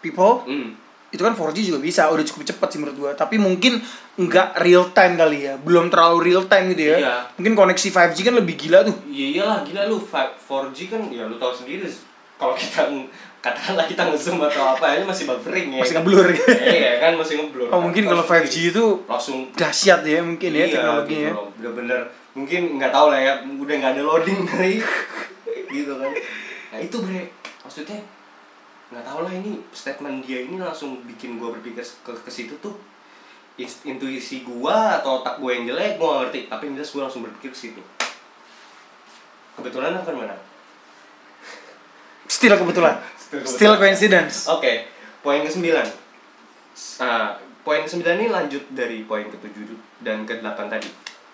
C: people
B: hmm
C: itu kan 4G juga bisa udah cukup cepet sih menurut gua tapi mungkin nggak real time kali ya belum terlalu real time gitu ya
B: Iya.
C: mungkin koneksi 5G kan lebih gila tuh
B: Iya iyalah gila lu fa- 4G kan ya lu tahu sendiri kalau kita ng- katakanlah kita ngezoom atau apa ini masih buffering ya.
C: masih ngeblur gitu.
B: Iya kan masih ngeblur.
C: oh mungkin kalau 5G itu
B: langsung
C: dahsyat ya mungkin ya teknologinya
B: Iya. gitu loh. Bener-bener mungkin nggak tahu lah ya udah nggak ada loading kali gitu kan. Nah itu bre maksudnya nggak tahu lah ini statement dia ini langsung bikin gua berpikir ke ke situ tuh Is- intuisi gua atau otak gua yang jelek gua nggak ngerti tapi yang jelas gua langsung berpikir ke situ kebetulan apa menang
C: still kebetulan
B: Still kebetulan.
C: still coincidence
B: Oke, poin ke sembilan. Nah, poin ke sembilan ini lanjut dari poin ke tujuh dan ke delapan tadi.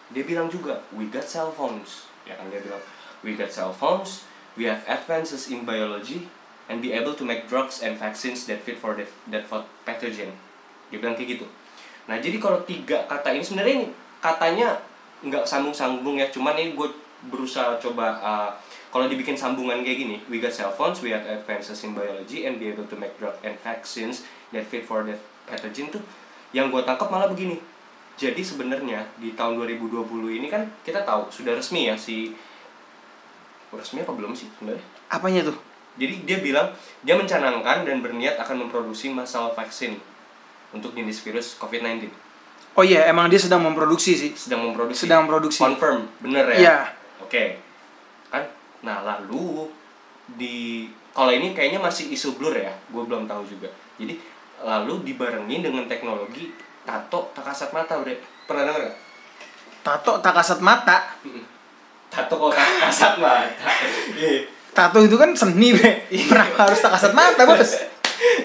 B: Dia bilang juga, we got cell phones. Ya kan dia bilang, we got cell phones, we have advances in biology, and be able to make drugs and vaccines that fit for the, that for pathogen. Dia bilang kayak gitu. Nah, jadi kalau tiga kata ini sebenarnya ini katanya nggak sambung-sambung ya, cuman ini gue berusaha coba uh, kalau dibikin sambungan kayak gini, we got cell phones, we have advances in biology and be able to make drug and vaccines that fit for the pathogen tuh yang gue tangkap malah begini. Jadi sebenarnya di tahun 2020 ini kan kita tahu sudah resmi ya si resmi apa belum sih sebenarnya?
C: apanya tuh
B: Jadi dia bilang dia mencanangkan dan berniat akan memproduksi massal vaksin untuk jenis virus COVID-19.
C: oh iya emang dia sedang memproduksi sih
B: Sedang memproduksi.
C: sedang memproduksi
B: Confirm, bener ya?
C: Iya.
B: Oke. Kan nah lalu di kalau ini kayaknya masih isu blur ya. Gue belum tahu juga. Jadi lalu dibarengin dengan teknologi tato tak kasat mata, Bre. Pernah denger nggak?
C: tato tak kasat mata
B: Tato kok tak kasat mata. Iya.
C: tato itu kan seni be pernah harus tak kasat mata bos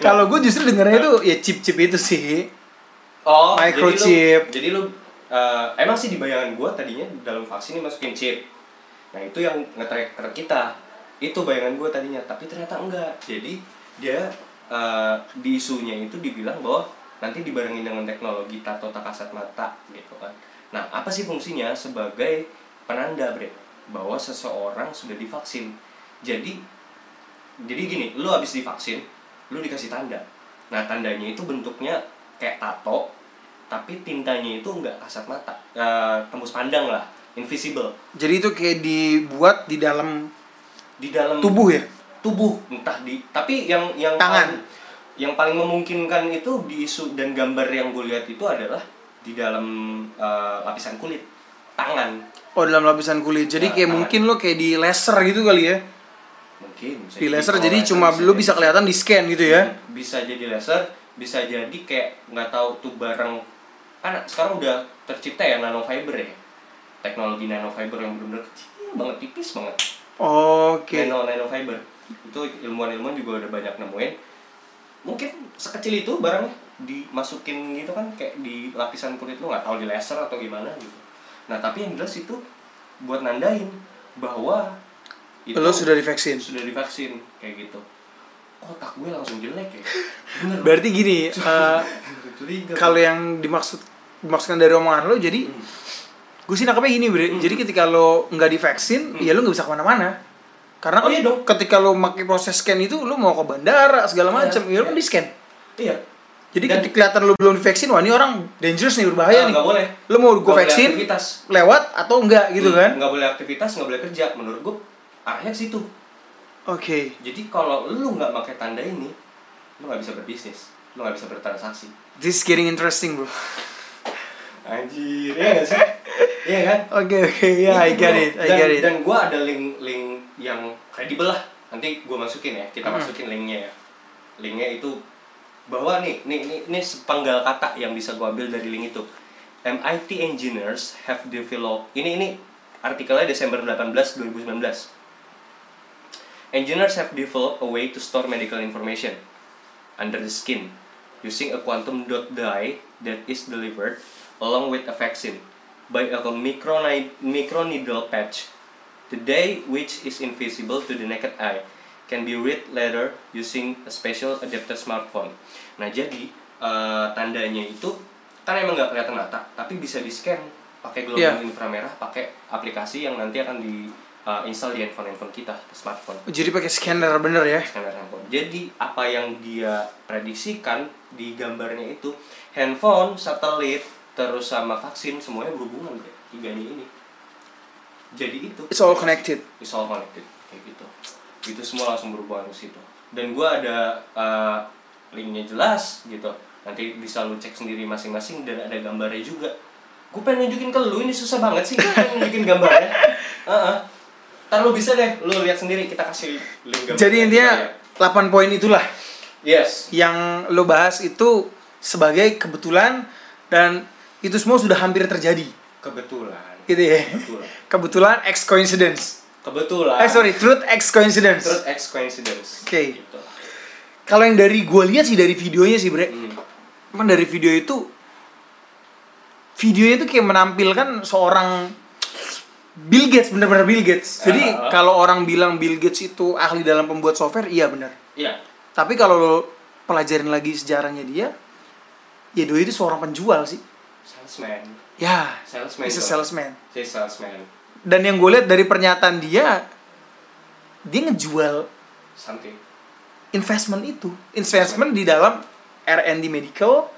C: kalau gue justru dengernya itu ya chip chip itu sih
B: Oh,
C: Microchip.
B: Jadi lu, jadi lu eh, emang sih di bayangan gua tadinya dalam vaksin ini masukin chip. Nah, itu yang nge-tracker kita. Itu bayangan gua tadinya, tapi ternyata enggak. Jadi dia eh, di isunya itu dibilang bahwa nanti dibarengin dengan teknologi tato tak kasat mata gitu kan. Nah, apa sih fungsinya sebagai penanda, Bre? Bahwa seseorang sudah divaksin. Jadi jadi gini, lu habis divaksin, lu dikasih tanda. Nah, tandanya itu bentuknya kayak tato, tapi tintanya itu nggak kasat mata, eh, tembus pandang lah, invisible.
C: jadi itu kayak dibuat di dalam
B: Di dalam
C: tubuh ya
B: tubuh entah di tapi yang yang
C: Tangan.
B: paling- yang paling memungkinkan itu di isu dan gambar yang gue lihat itu adalah di dalam eh, lapisan kulit tangan
C: Oh dalam lapisan kulit.
B: Ya,
C: Jadi kayak
B: tangan.
C: mungkin lo kayak di laser gitu kali ya.
B: mungkin bisa
C: Di
B: jadi.
C: laser
B: Kalau
C: jadi cuma lo bisa
B: jadi-
C: kelihatan di scan gitu
B: Iya.
C: ya.
B: bisa jadi laser bisa jadi kayak nggak tahu tuh barang kan sekarang udah tercipta ya nanofiber ya teknologi nanofiber yang benar-benar kecil banget tipis banget
C: Oke.
B: nano nanofiber itu ilmuwan-ilmuwan juga udah banyak nemuin mungkin sekecil itu barangnya dimasukin gitu kan kayak di lapisan kulit lu nggak tahu di laser atau gimana gitu nah tapi yang jelas itu buat nandain bahwa itu
C: Lo sudah divaksin.
B: sudah divaksin kayak gitu otak gue langsung jelek ya bener
C: Berarti gini, eh,
B: Curiga.
C: kalau yang dimaksud dimaksudkan dari omongan lo jadi
B: Hmm.
C: gue sih nangkepnya gini bre jadi ketika lo nggak divaksin ya lo nggak bisa kemana-mana karena
B: Oh, iya dong.
C: ketika lo pakai proses scan itu lo mau ke bandara segala
B: Iya,
C: macam ya lo kan
B: iya.
C: di scan Iya. Jadi
B: Dan-
C: ketika kelihatan lu belum divaksin, wah ini orang dangerous nih
B: Ah,
C: berbahaya nih.
B: nggak boleh
C: Lu mau
B: Nggak
C: gue
B: boleh
C: vaksin
B: aktivitas
C: lewat atau enggak gitu
B: Hmm,
C: kan?
B: nggak boleh aktivitas nggak boleh kerja menurut gue arahnya ke situ
C: Oke.
B: jadi kalau lu nggak pakai tanda ini lu nggak bisa berbisnis lu nggak bisa bertransaksi
C: This is getting interesting, bro.
B: anjir ya nggak sih iya kan
C: Oke, oke. Ya, I
B: Itu,
C: get
B: bro.
C: it. I
B: dan,
C: get it.
B: dan gue ada link link yang kredibel lah nanti gue masukin ya kita
C: Hmm.
B: masukin linknya ya linknya itu bahwa nih nih nih, nih sepenggal kata yang bisa gue ambil dari link itu MIT engineers have developed ini ini artikelnya Desember 18 2019 engineers have developed a way to store medical information under the skin using a quantum dot dye that is delivered along with a vaccine by a microni- microneedle patch. The dye, which is invisible to the naked eye, can be read later using a special adapted smartphone. Nah, jadi eh, tandanya itu kan emang nggak kelihatan mata, tapi bisa di scan pakai gelombang
C: Iya.
B: inframerah, pakai aplikasi yang nanti akan di eh, install di handphone-handphone kita, smartphone
C: Jadi pakai scanner bener ya.
B: scanner handphone. Jadi apa yang dia prediksikan di gambarnya itu handphone, satelit, terus sama vaksin semuanya berhubungan deh tiganya ini. Jadi itu
C: It's all connected.
B: it's all connected kayak gitu. Itu semua langsung berhubungan ke situ. Dan gua ada eh, linknya jelas gitu. Nanti bisa lu cek sendiri masing-masing dan ada gambarnya juga. Gue pengen nunjukin ke lu ini susah banget sih gua pengen nunjukin gambarnya. Heeh. Ntar lu bisa deh, lu lihat sendiri kita kasih link gambarnya.
C: Jadi intinya
B: Kita lihat.
C: 8 poin itulah
B: Yes.
C: yang lo bahas itu sebagai kebetulan dan itu semua sudah hampir terjadi
B: Kebetulan.
C: gitu ya.
B: Kebetulan.
C: Kebetulan X coincidence.
B: Kebetulan.
C: Eh sorry, truth X coincidence.
B: Truth X coincidence.
C: Oke.
B: Gitu.
C: Kalau yang dari gue lihat sih dari videonya sih Bre,
B: Hmm.
C: Cuman dari video itu videonya itu kayak menampilkan seorang Bill Gates bener-bener Bill Gates. Jadi
B: Ah.
C: kalau orang bilang Bill Gates itu ahli dalam pembuat software, iya bener.
B: Iya.
C: Tapi kalau lo pelajarin lagi sejarahnya dia, ya doi itu seorang penjual sih.
B: Salesman.
C: Ya,
B: Salesman.
C: he's a
B: dong.
C: salesman.
B: He's a salesman.
C: Dan yang gue lihat dari pernyataan dia, dia ngejual
B: Something.
C: investment itu, investment di dalam R&D medical,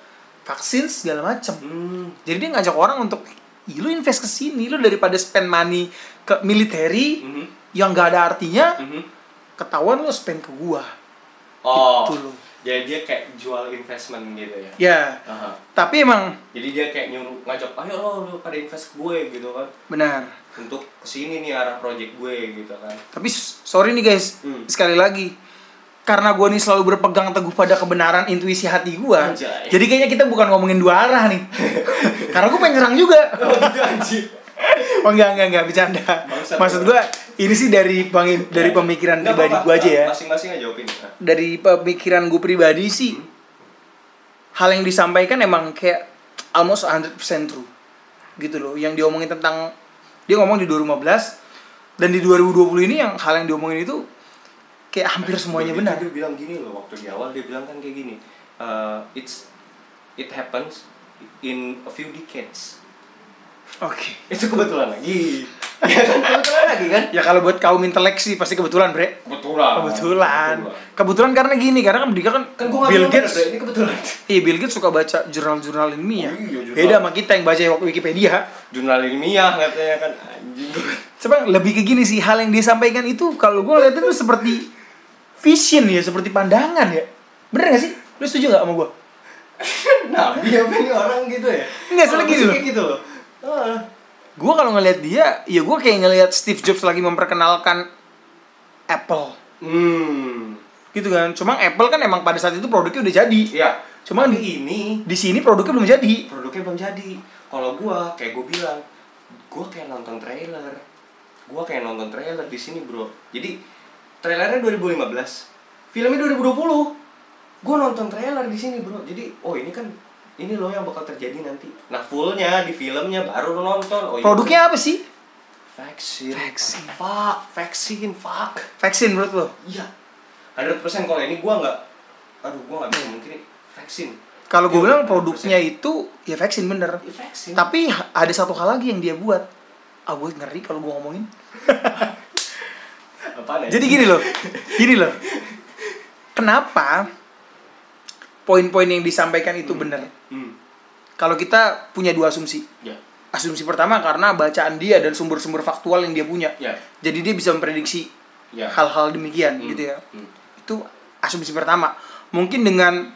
C: vaksin segala macam.
B: Hmm.
C: Jadi dia ngajak orang untuk "Ih, lu invest ke sini, lu daripada spend money ke military
B: Mhm.
C: yang gak ada artinya,
B: Mhm.
C: ketahuan lu spend ke gua.
B: Oh.
C: Gitu loh.
B: Jadi dia kayak jual investment gitu ya.
C: Ya,
B: Aha.
C: tapi emang
B: Jadi dia kayak nyuruh ngajak, ayo lo lo pada invest ke gue gitu kan,
C: benar.
B: untuk kesini nih arah project gue gitu kan.
C: Tapi s- sorry nih guys,
B: Hmm.
C: sekali lagi karena gue nih selalu berpegang teguh pada kebenaran intuisi hati gue.
B: Anjay.
C: Jadi kayaknya kita bukan ngomongin dua arah nih. karena gue pengen nyerang juga.
B: Oh gitu anjir.
C: Oh enggak enggak enggak bercanda.
B: Bangsat.
C: Maksud gue ini sih dari bang, dari pemikiran
B: Nggak
C: pribadi
B: apa-apa.
C: gue aja ya.
B: Masing-masing aja opini. Nah.
C: Dari pemikiran gue pribadi sih hal yang disampaikan emang kayak almost 100% true. Gitu loh. Yang diomongin tentang dia ngomong di 2015 dan di 2020 ini yang hal yang diomongin itu kayak hampir semuanya
B: Dia-
C: benar.
B: Dia bilang gini loh waktu di awal dia bilang kan kayak gini. "Uh, it's it happens in a few decades.
C: Oke.
B: Itu kebetulan lagi.
C: Iya
B: Ya kan kebetulan lagi kan?
C: Ya kalau buat kaum intelek sih pasti kebetulan, Bre.
B: Kebetulan.
C: Kebetulan. Kebetulan karena gini, karena kan dia kan,
B: Kan gua nggak
C: Bill
B: bilang
C: Gates.
B: bener, ini kebetulan.
C: Iya, Bill Gates suka baca jurnal-jurnal ilmiah.
B: Oh iya, jurnal.
C: Beda sama kita yang baca Wikipedia.
B: Jurnal ilmiah katanya kan anjing.
C: Coba lebih ke gini sih, hal yang disampaikan itu kalau gue lihat itu seperti vision ya, seperti pandangan ya. Bener gak sih? Lu setuju gak sama gue?
B: Kan Nabi apa ini orang gitu ya?
C: Nggak, soalnya
B: Orang
C: gini loh.
B: kayak gitu loh. Ah.
C: Gue kalau ngelihat dia, ya gue kayak ngelihat Steve Jobs lagi memperkenalkan Apple.
B: Hmm.
C: Gitu kan. Cuma Apple kan emang pada saat itu produknya udah jadi.
B: Iya.
C: Cuma
B: Tapi
C: di,
B: ini
C: di sini produknya belum jadi.
B: produknya belum jadi kalau gua kayak gua bilang gua kayak nonton trailer gua kayak nonton trailer di sini bro jadi trailernya 2015 filmnya 2020 gua nonton trailer di sini bro jadi oh ini kan ini loh yang bakal terjadi nanti nah fullnya di filmnya baru lo nonton oh iya.
C: Produknya apa sih?
B: vaksin
C: Vaksin.
B: fuck vaksin fuck
C: Vaksin menurut lo?
B: iya 100% kalau ini gua nggak aduh gua nggak bisa mungkin vaksin
C: Kalau gue
B: Iya,
C: bilang
B: 100%.
C: produknya itu ya vaksin bener.
B: Ih, vaksin
C: Tapi ha- ada satu hal lagi yang dia buat. Ah gue ngeri kalau gue ngomongin.
B: Apaan ya?
C: Jadi gini loh, gini loh. Kenapa poin-poin yang disampaikan itu benar.
B: Hmm.
C: Kalau kita punya dua asumsi.
B: Ya.
C: Asumsi pertama karena bacaan dia dan sumber-sumber faktual yang dia punya.
B: Ya.
C: Jadi dia bisa memprediksi
B: Ya.
C: hal-hal demikian
B: Hmm.
C: gitu ya.
B: Hmm.
C: Itu asumsi pertama. Mungkin dengan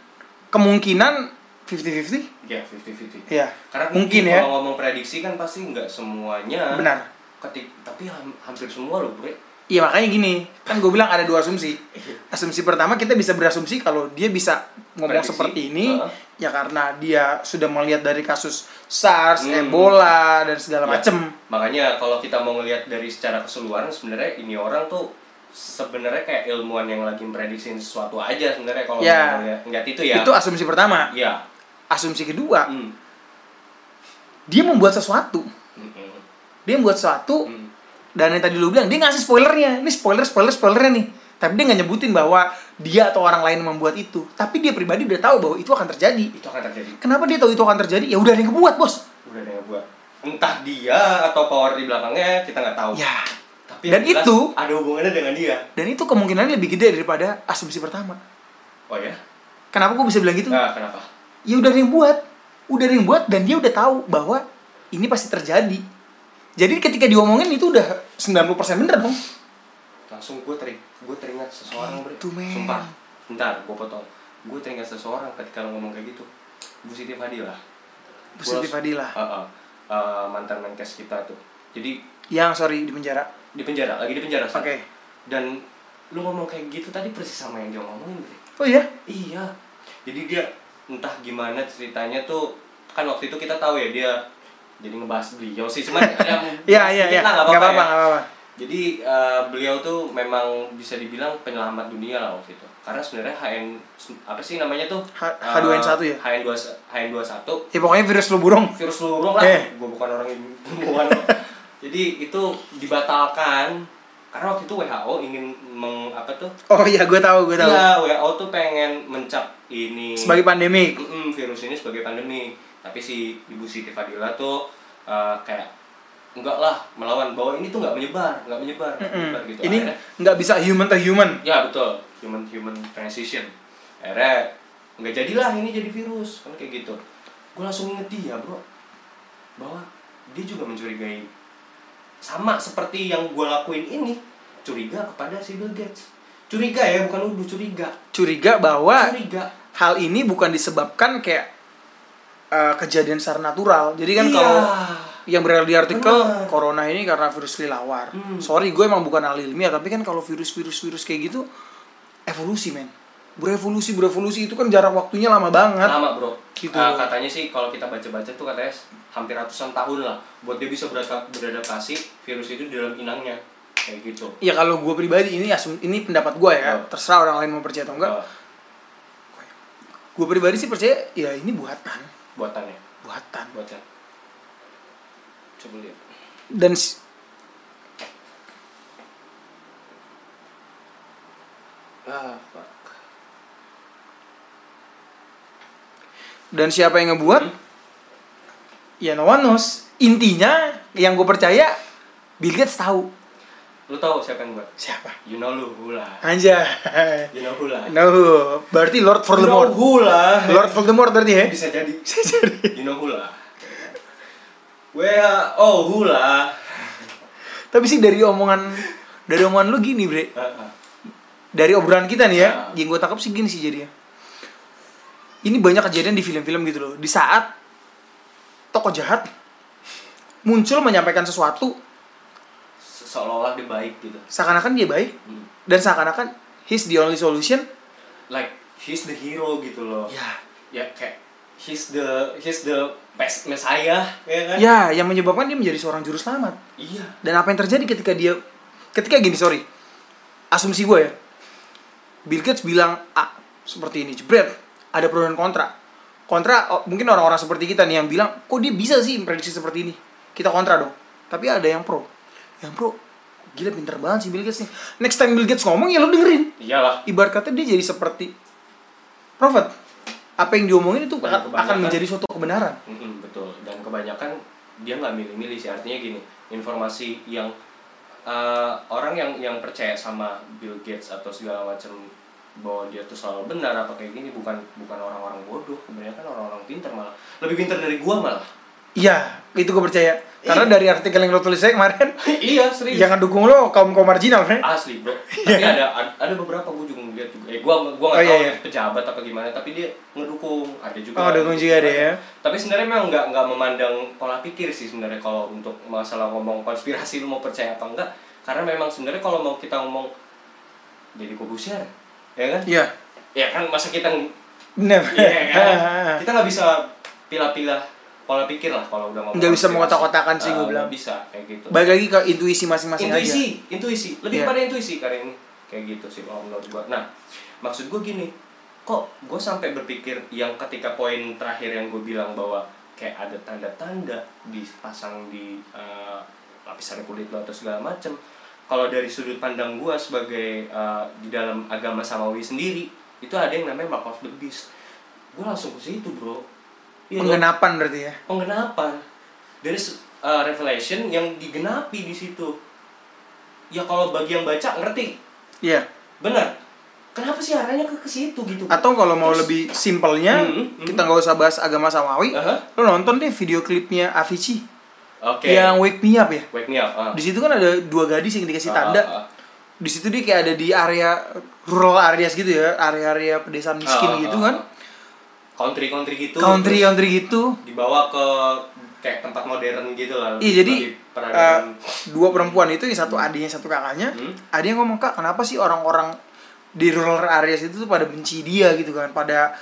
C: kemungkinan 50-50
B: Ya, 50-50.
C: ya.
B: Karena
C: mungkin
B: kalau
C: ya.
B: ngomong prediksi kan pasti nggak semuanya.
C: Benar.
B: Ketik, tapi ham- hampir semua loh, Bre.
C: Iya makanya gini, kan gue bilang ada dua asumsi.
B: Iya.
C: Asumsi pertama kita bisa berasumsi kalau dia bisa ngomong
B: Prediksi.
C: seperti ini
B: Heeh.
C: ya karena dia sudah melihat dari kasus SARS,
B: Hmm.
C: Ebola dan segala
B: Ya.
C: macem.
B: Makanya kalau kita mau ngelihat dari secara keseluruhan sebenarnya ini orang tuh sebenarnya kayak ilmuwan yang lagi prediksiin sesuatu aja sebenarnya kalau
C: Ya.
B: mau ngeliat, ngeliat itu ya.
C: Itu asumsi pertama.
B: ya.
C: Asumsi kedua,
B: Hmm.
C: dia membuat sesuatu.
B: Hmm, hmm,
C: Dia membuat sesuatu
B: hmm.
C: dan yang tadi lu bilang dia ngasih spoilernya. Ini spoiler, spoiler, spoilernya nih. Tapi dia nggak nyebutin bahwa dia atau orang lain membuat itu. Tapi dia pribadi udah tahu bahwa itu akan terjadi.
B: Itu akan terjadi.
C: Kenapa dia tahu itu akan terjadi? Ya udah ada yang kebuat bos.
B: Udah ada yang buat. Entah dia atau power di belakangnya kita nggak tahu.
C: Ya.
B: Tapi yang
C: Dan
B: jelas
C: itu-
B: ada hubungannya dengan dia.
C: Dan itu kemungkinannya lebih gede daripada asumsi pertama.
B: Oh ya?
C: Kenapa gue bisa bilang gitu?
B: Nah, kenapa?
C: Ya udah ada yang buat, udah ada yang buat dan dia udah tahu bahwa ini pasti terjadi. Jadi ketika diomongin itu udah 90% bener dong.
B: Langsung gue teri gue teringat seseorang Bre.
C: Gitu, men.
B: Sumpah. Bentar, gue potong. Gue teringat seseorang ketika lo ngomong kayak gitu. Bu Siti Fadilah.
C: Positif Fadilah.
B: Heeh. Eh, Ah, mantan menkes kita tuh. Jadi
C: Yang sorry di penjara.
B: di penjara, lagi di penjara. Sat.
C: Oke.
B: Dan lu ngomong kayak gitu tadi persis sama yang dia ngomongin, Bre.
C: Oh iya.
B: Iya. Jadi dia entah gimana ceritanya tuh kan waktu itu kita tahu ya dia jadi ngebahas beliau sih cuman ada
C: Iya iya iya.
B: Nah, sedikit lah, nggak
C: Enggak apa-apa,
B: ya.
C: enggak apa-apa.
B: Jadi eh, beliau tuh memang bisa dibilang penyelamat dunia lah waktu itu. Karena sebenarnya HN apa sih namanya tuh? Eh,
C: H- H2N1 ya?
B: HN2 HN21
C: Ya pokoknya virus lu burung.
B: virus lu burung lah.
C: Eh.
B: Gue bukan orang yang bukan. Jadi itu dibatalkan karena waktu itu WHO ingin meng apa tuh?
C: Oh iya, gue tahu, gue tahu.
B: Iya, WHO tuh pengen mencap ini
C: Sebagai pandemi.
B: Mm-mm, virus ini sebagai pandemi. Tapi si Ibu Siti Fadila tuh eh, kayak enggak lah melawan bahwa ini tuh nggak menyebar, nggak menyebar, nggak menyebar gitu.
C: Ini
B: Akhirnya-
C: nggak bisa human to human.
B: Ya betul, human human transition. Akhirnya nggak jadilah ini jadi virus kan kayak gitu. Gue langsung inget dia bro, bahwa dia juga mencurigai sama seperti yang gue lakuin ini curiga kepada si Bill Gates. Curiga ya bukan nuduh curiga.
C: Curiga bahwa
B: Curiga.
C: hal ini bukan disebabkan kayak eh, kejadian secara natural. Jadi kan
B: Iya.
C: kalau yang berada di artikel
B: Benar.
C: corona ini karena virus kelelawar.
B: Hmm.
C: Sorry, gue emang bukan ahli ilmiah, tapi kan kalau virus-virus-virus kayak gitu evolusi, men. Berevolusi, berevolusi itu kan jarak waktunya lama banget.
B: lama bro.
C: Gitu.
B: Eh, katanya sih kalau kita baca-baca tuh katanya hampir ratusan tahun lah buat dia bisa beradap- beradaptasi virus itu di dalam inangnya kayak gitu.
C: Ya kalau gue pribadi ini asum- ini pendapat gue ya,
B: Oh.
C: terserah orang lain mau percaya atau enggak.
B: Eh,
C: Gue pribadi sih percaya ya ini buatan,
B: buatannya.
C: buatan.
B: buatnya coba lihat
C: Dan s-
B: ah fuck
C: dan siapa yang ngebuat? Ya no one knows. Intinya yang gue percaya Bill Gates tahu
B: lu tahu siapa yang buat
C: siapa.
B: you know lu hula
C: Anjay.
B: you know hula
C: No, berarti Lord Voldemort.
B: hula
C: Lord Voldemort berarti ya?
B: Eh, bisa jadi bisa jadi you know hula well oh hula
C: Tapi sih dari omongan dari omongan lu gini, Bre.
B: Ah, ah.
C: Dari obrolan kita nih ya,
B: Ya.
C: yang gue tangkap sih gini sih jadinya. Ini banyak kejadian di film-film gitu loh. Di saat tokoh jahat muncul menyampaikan sesuatu
B: Se- seolah-olah dia baik gitu
C: seakan-akan dia baik
B: Hmm.
C: dan seakan-akan he's the only solution.
B: like he's the hero gitu loh
C: Ya,
B: ya kayak he's the he's the best messiah ya kan
C: ya yang menyebabkan dia menjadi seorang juru selamat.
B: iya
C: Dan apa yang terjadi ketika dia ketika gini sorry asumsi gue ya Bill Gates bilang A seperti ini jebret ada pro dan kontra kontra oh, mungkin orang-orang seperti kita nih yang bilang kok dia bisa sih memprediksi seperti ini kita kontra dong tapi ada yang pro yang pro gila pinter banget sih Bill Gates nih next time Bill Gates ngomong ya lo dengerin
B: iyalah
C: ibarat kata dia jadi seperti prophet apa yang diomongin itu
B: Banyak
C: akan- akan
B: kebanyakan.
C: menjadi suatu kebenaran
B: Mm-mm, betul. Dan kebanyakan dia nggak milih-milih sih. Artinya gini, informasi yang eh, orang yang yang percaya sama Bill Gates atau segala macam bahwa dia tuh selalu benar apa kayak gini bukan bukan orang-orang bodoh kebanyakan orang-orang pinter malah lebih pinter dari gua malah
C: Iya, itu gue percaya. Karena dari artikel yang lo tulis saya kemarin,
B: iya serius Ah.
C: jangan dukung lo kaum kaum marginal, friend.
B: asli bro tapi ada ada- ada beberapa gue juga ngeliat juga eh gue gue nggak
C: Oh, iya,
B: tahu
C: iya.
B: dia pejabat apa gimana tapi dia ngedukung ada juga
C: Oh, dukung juga ada ya.
B: tapi sebenarnya memang nggak nggak memandang pola pikir sih sebenarnya kalau untuk masalah ngomong konspirasi lu mau percaya apa enggak karena memang sebenarnya kalau mau kita ngomong jadi Kobusier ya kan
C: Iya,
B: ya kan masa kita ng-
C: benar.
B: iya kan kita nggak bisa pilah-pilah pola pikir lah kalau udah ngomong
C: Nggak bisa
B: konspirasi.
C: mengotak-kotakan sih,
B: Eh,
C: gua bilang.
B: nggak bisa kayak gitu
C: Baik lagi ke intuisi masing-masing aja.
B: intuisi intuisi lebih
C: Iya.
B: kepada intuisi karena ini kayak gitu sih kalau menurut gua nah maksud gua gini kok gua sampai berpikir yang ketika poin terakhir yang gua bilang bahwa kayak ada tanda-tanda dipasang di eh, lapisan kulit lo atau segala macem kalau dari sudut pandang gua sebagai eh, di dalam agama samawi sendiri itu ada yang namanya mark of the beast gua langsung ke situ bro Iya dong?
C: Penggenapan berarti ya.
B: penggenapan dari se- uh, revelation yang digenapi di situ ya kalau bagi yang baca ngerti
C: Iya.
B: benar kenapa sih arahnya ke ke situ gitu
C: Atau kalau mau
B: Terus-
C: lebih simpelnya,
B: Hmm, Eh. hmm.
C: kita nggak usah bahas agama samawi.
B: Aha.
C: Lo nonton deh video klipnya Avicii
B: oke
C: yang Wake Me Up ya.
B: wake me up ah.
C: Di situ kan ada dua gadis yang dikasih
B: Ah,
C: tanda.
B: ah, ah.
C: Di situ dia kayak ada di area rural areas gitu ya, area-area pedesaan miskin
B: Ah, ah,
C: gitu
B: ah,
C: kan.
B: ah. country country gitu
C: Country
B: terus
C: country gitu.
B: dibawa ke kayak tempat modern gitu lah
C: Iya jadi
B: lebih peradaban.
C: eh, dua perempuan itu yang satu adiknya satu kakaknya,
B: Hmm.
C: adiknya ngomong kak kenapa sih orang-orang di rural areas itu tuh pada benci dia gitu kan, pada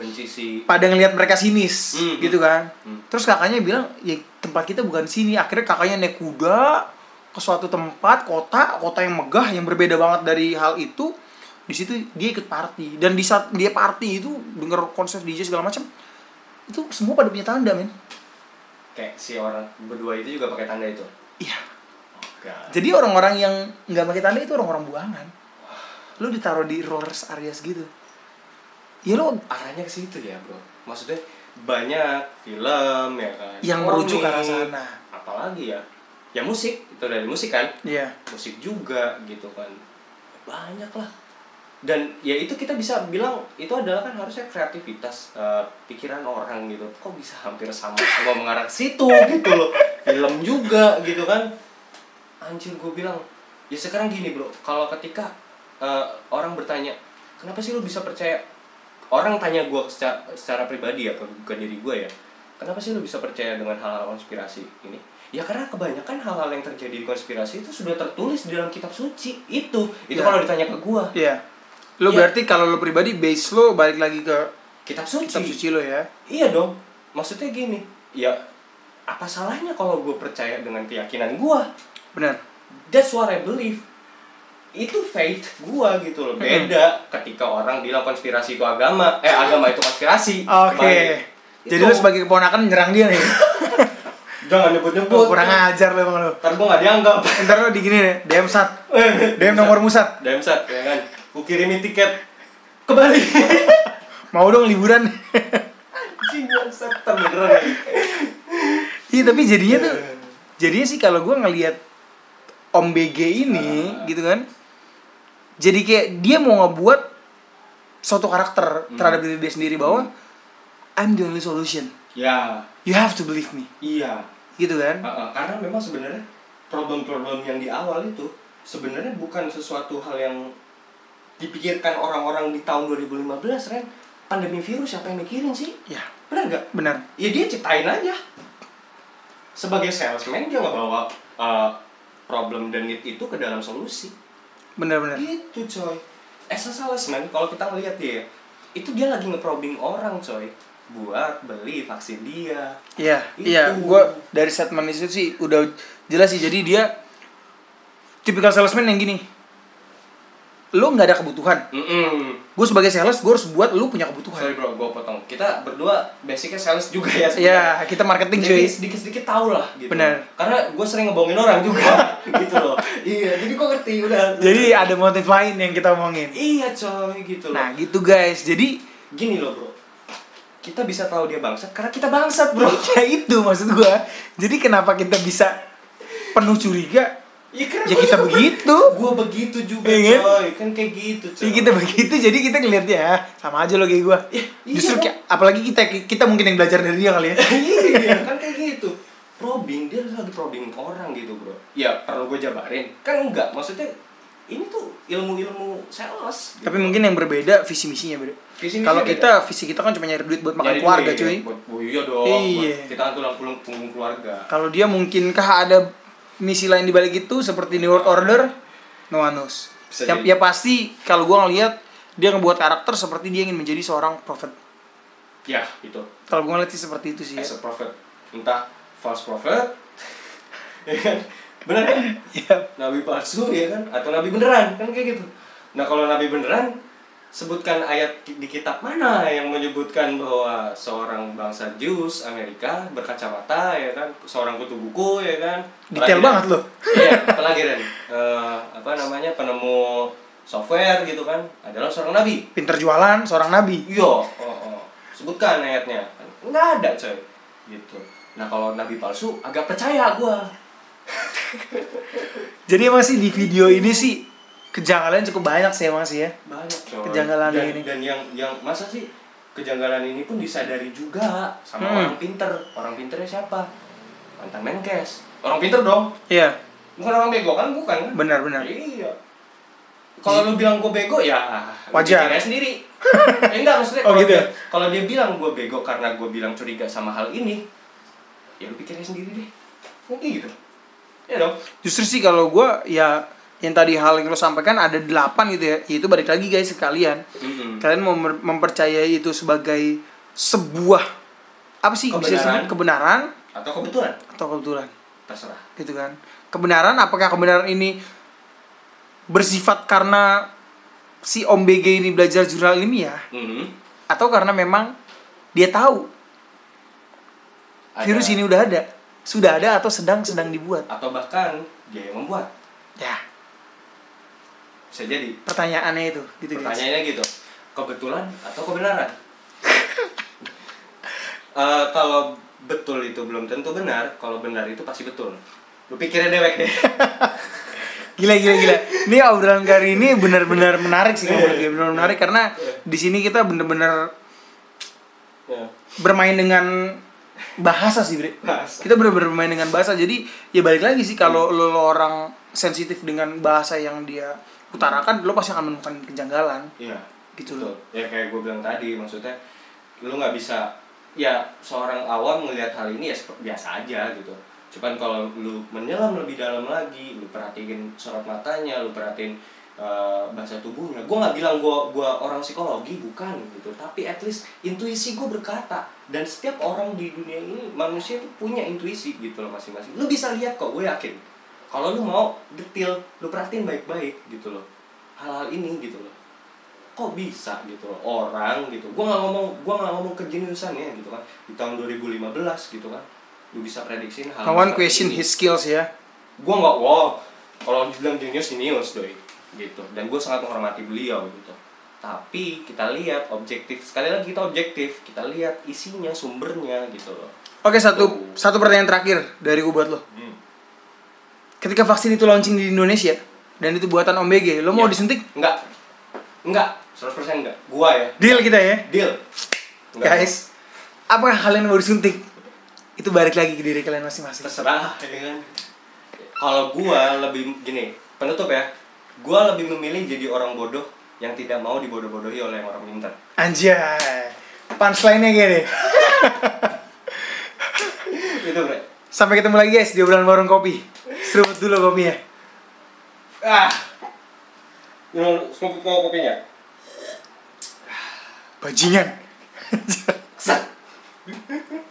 B: benci si
C: pada ngelihat mereka sinis
B: Hmm.
C: gitu kan.
B: Hmm.
C: Terus kakaknya bilang ya tempat kita bukan sini. Akhirnya kakaknya naik kuda ke suatu tempat kota kota yang megah yang berbeda banget dari hal itu. Di situ dia ikut party dan di saat dia party itu denger konser DJ segala macam itu semua pada punya tanda men.
B: kayak si orang berdua itu juga pakai tanda itu Oh,
C: Iya.
B: Gak.
C: Jadi orang-orang yang nggak pakai tanda itu orang-orang buangan. Lu ditaruh di rollers areas gitu. Ya lu
B: arahnya ke situ ya bro maksudnya banyak film ya kan
C: yang
B: komik,
C: merujuk ke arah sana.
B: apalagi ya ya musik itu dari musik kan
C: Iya.
B: musik juga gitu kan banyak lah dan ya itu kita bisa bilang itu adalah kan harusnya kreativitas eh, pikiran orang gitu kok bisa hampir sama semua mengarah ke situ gitu loh film juga gitu kan anjir gue bilang ya sekarang gini bro kalau ketika eh, orang bertanya kenapa sih lu bisa percaya orang tanya gue secara, secara pribadi ya ke, ke diri gue ya kenapa sih lu bisa percaya dengan hal-hal konspirasi ini ya karena kebanyakan hal-hal yang terjadi di konspirasi itu sudah tertulis di dalam kitab suci itu itu
C: Ya.
B: kalau ditanya ke gue
C: Iya. Lu
B: Iya.
C: berarti kalau lu pribadi base lu balik lagi ke
B: kitab suci
C: kitab suci lu ya.
B: Iya dong. Maksudnya gini, ya apa salahnya kalau gue percaya dengan keyakinan gue?
C: Benar.
B: That's what I believe. Itu faith gue gitu loh. Beda ketika orang bilang konspirasi itu agama, eh agama itu konspirasi.
C: Oke.
B: Kembali.
C: Jadi
B: Itu.
C: lu sebagai keponakan menyerang dia nih.
B: jangan nyebut-nyebut.
C: Lu kurang ajar lu emang lu.
B: Ntar gue gak dianggap.
C: Ntar lu di gini deh, DM sat. DM nomor musat.
B: Demsat, ya kan? Gue kirimin tiket ke Bali.
C: Mau dong liburan.
B: Anjing, bangsat. Ntar beneran lagi.
C: Iya, tapi jadinya tuh jadinya sih kalau gua ngelihat Om BG ini gitu kan. Jadi kayak dia mau ngebuat suatu karakter terhadap diri dia sendiri bahwa I'm the only solution.
B: Ya,
C: You have to believe me.
B: iya.
C: Gitu kan?
B: Uh, uh, karena memang sebenarnya problem-problem yang di awal itu sebenarnya bukan sesuatu hal yang dipikirkan orang-orang di tahun 2015 Ren pandemi virus siapa yang mikirin sih
C: Ya,
B: benar nggak
C: benar.
B: ya dia ciptain aja sebagai salesman dia ngebawa uh, problem dan need itu ke dalam solusi
C: Benar-benar.
B: gitu coy as a salesman kalau kita ngeliat dia itu dia lagi ngeprobing orang coy buat beli vaksin dia
C: Iya,
B: Itu.
C: iya. Gue dari statement itu sih udah jelas sih. Jadi dia tipikal salesman yang gini. Lu nggak ada kebutuhan.
B: Mm-mm.
C: Gue sebagai sales, gue harus buat lu punya kebutuhan.
B: Sorry bro, gue potong. Kita berdua basicnya sales juga ya sebenarnya.
C: Iya, kita marketing
B: Jadi
C: cuy.
B: sedikit-sedikit tau lah gitu.
C: Benar.
B: Karena gue sering ngebohongin orang juga gitu loh. Iya, jadi gue ngerti udah.
C: Jadi ada motif lain yang kita omongin.
B: iya coy gitu loh.
C: Nah gitu guys. Jadi
B: Gini loh bro, kita bisa tahu dia bangsat karena kita bangsat bro.
C: ya itu maksud gue. Jadi kenapa kita bisa penuh curiga
B: Ya, keren
C: ya kita begitu
B: Gue begitu juga
C: Iya kan?
B: coy Kan kayak gitu coy
C: Iya kita begitu jadi kita ngeliatnya ya sama aja lo kayak gue.
B: iya
C: Justru
B: kan?
C: kayak- apalagi kita kita mungkin yang belajar dari dia kali ya.
B: Iya kan kayak gitu Probing, dia lagi probing orang gitu bro Ya perlu gue jabarin Kan enggak, maksudnya ini tuh ilmu-ilmu sales gitu.
C: Tapi mungkin yang berbeda visi misinya beda.
B: Visi misi
C: Kalau
B: beda.
C: kita visi kita kan cuma nyari duit buat makan
B: Jadi
C: keluarga
B: duit,
C: cuy.
B: buat- oh Iya dong
C: Iya.
B: buat- Kita kan tulang punggung punggung keluarga
C: Kalau dia mungkinkah ada misi lain di balik itu seperti New World Order? No one knows.
B: Bisa
C: Ya,
B: jadi.
C: ya pasti kalau gue ngeliat dia ngebuat karakter seperti dia ingin menjadi seorang prophet.
B: Ya itu
C: Kalau gue ngeliat sih seperti itu sih ya.
B: as a prophet entah false prophet ya kan benar kan
C: Iya.
B: nabi palsu ya kan atau nabi beneran kan kayak gitu nah kalau nabi beneran sebutkan ayat di di kitab mana yang menyebutkan bahwa seorang bangsa Jews Amerika berkacamata ya kan seorang kutu buku ya kan Pelagiran-
C: Detail banget loh.
B: iya pelagiran Eh, apa namanya penemu software gitu kan adalah seorang nabi
C: Pinter jualan seorang nabi.
B: Iya, oh, oh. sebutkan ayatnya. Nggak ada coy. Gitu. Nah kalau nabi palsu agak percaya gua
C: Jadi emang sih di video ini sih kejanggalan cukup banyak sih emang sih ya.
B: Banyak coy.
C: Kejanggalan
B: dan,
C: ini.
B: Dan yang yang masa sih kejanggalan ini pun disadari juga sama
C: Hmm.
B: orang pinter. Orang pinternya siapa? Mantan menkes. Orang pinter dong.
C: Iya.
B: Bukan orang bego kan? Bukan kan?
C: Benar, benar.
B: Iya. Kalau lu bilang gue bego ya lu
C: Wajar.
B: bikin aja sendiri. eh, enggak maksudnya
C: Oh,
B: kalau
C: gitu
B: dia,
C: ya?
B: kalau dia bilang gue bego karena gue bilang curiga sama hal ini, ya lu pikirnya sendiri deh. Mungkin gitu. Ya dong.
C: Justru sih kalau gue ya yang tadi hal yang lo sampaikan ada delapan gitu ya. Itu balik lagi guys sekalian.
B: Mm-mm.
C: Kalian mau mer- mempercayai itu sebagai sebuah apa sih bisa disebut
B: Kebenaran.
C: kebenaran
B: Atau kebetulan
C: atau kebetulan
B: terserah.
C: gitu kan. Kebenaran apakah kebenaran ini bersifat karena si Om BG ini belajar jurnal ilmiah
B: Mm-mm.
C: atau karena memang dia tahu
B: Ada-
C: virus ini udah ada, sudah ada atau sedang sedang dibuat.
B: Atau bahkan dia yang membuat.
C: Ya,
B: Bisa jadi.
C: pertanyaannya itu gitu guys.
B: Pertanyaannya gitu, kebetulan atau kebenaran? Eh, kalau betul itu belum tentu benar, kalau benar itu pasti betul. Lu pikirnya dewek deh.
C: Gila gila gila. Ini obrolan kali ini benar-benar menarik sih menurut
B: Iya.
C: gue, benar menarik karena di sini kita benar-benar
B: Ya.
C: bermain dengan bahasa sih, Bre.
B: Bahasa. Hmm.
C: Kita benar-benar bermain dengan bahasa. Jadi ya balik lagi sih kalau lo, lo orang sensitif dengan bahasa yang dia utarakan, lo pasti akan menemukan kejanggalan.
B: Iya.
C: Gitu
B: betul. Ya kayak gue bilang tadi, maksudnya lu nggak bisa ya seorang awam melihat hal ini ya sep- biasa aja gitu. Cuman kalau lu menyelam lebih dalam lagi, lu perhatiin sorot matanya, lu perhatiin eh, bahasa tubuhnya. Gue nggak bilang gue gua orang psikologi bukan gitu, tapi at least intuisi gue berkata dan setiap orang di dunia ini manusia tuh punya intuisi gitu loh masing-masing. Lu bisa lihat kok, gue yakin. Kalau lu mau detail, lu perhatiin baik-baik gitu loh. Hal-hal ini gitu loh kok bisa gitu loh, orang gitu gua nggak ngomong gua nggak ngomong kejeniusannya gitu kan di tahun 2015 gitu kan lu bisa prediksiin hal
C: No
B: seperti
C: one question
B: ini.
C: his skills ya.
B: gua nggak wow kalau dibilang jenius jenius doi gitu dan gua sangat menghormati beliau gitu tapi kita lihat objektif sekali lagi kita objektif kita lihat isinya sumbernya gitu loh
C: Oke, satu
B: Tuh.
C: satu pertanyaan terakhir dari gue buat lo.
B: Hmm.
C: Ketika vaksin itu launching di Indonesia dan itu buatan Om BG, lo mau
B: Ya.
C: disuntik?
B: enggak enggak 100% enggak gua ya
C: Deal kita ya.
B: deal Enggak.
C: Guys, apakah kalian mau disuntik? Itu balik lagi ke diri kalian masing-masing.
B: terserah ya kan kalau gua lebih gini penutup ya gua lebih memilih jadi orang bodoh yang tidak mau dibodoh-bodohi oleh orang pintar
C: Anjay. Punchline-nya gini.
B: itu bre
C: Sampai ketemu lagi guys di obrolan warung kopi. Seruput dulu kopinya.
B: ah mau mau- mau kopinya
C: Bajingan.
B: Set.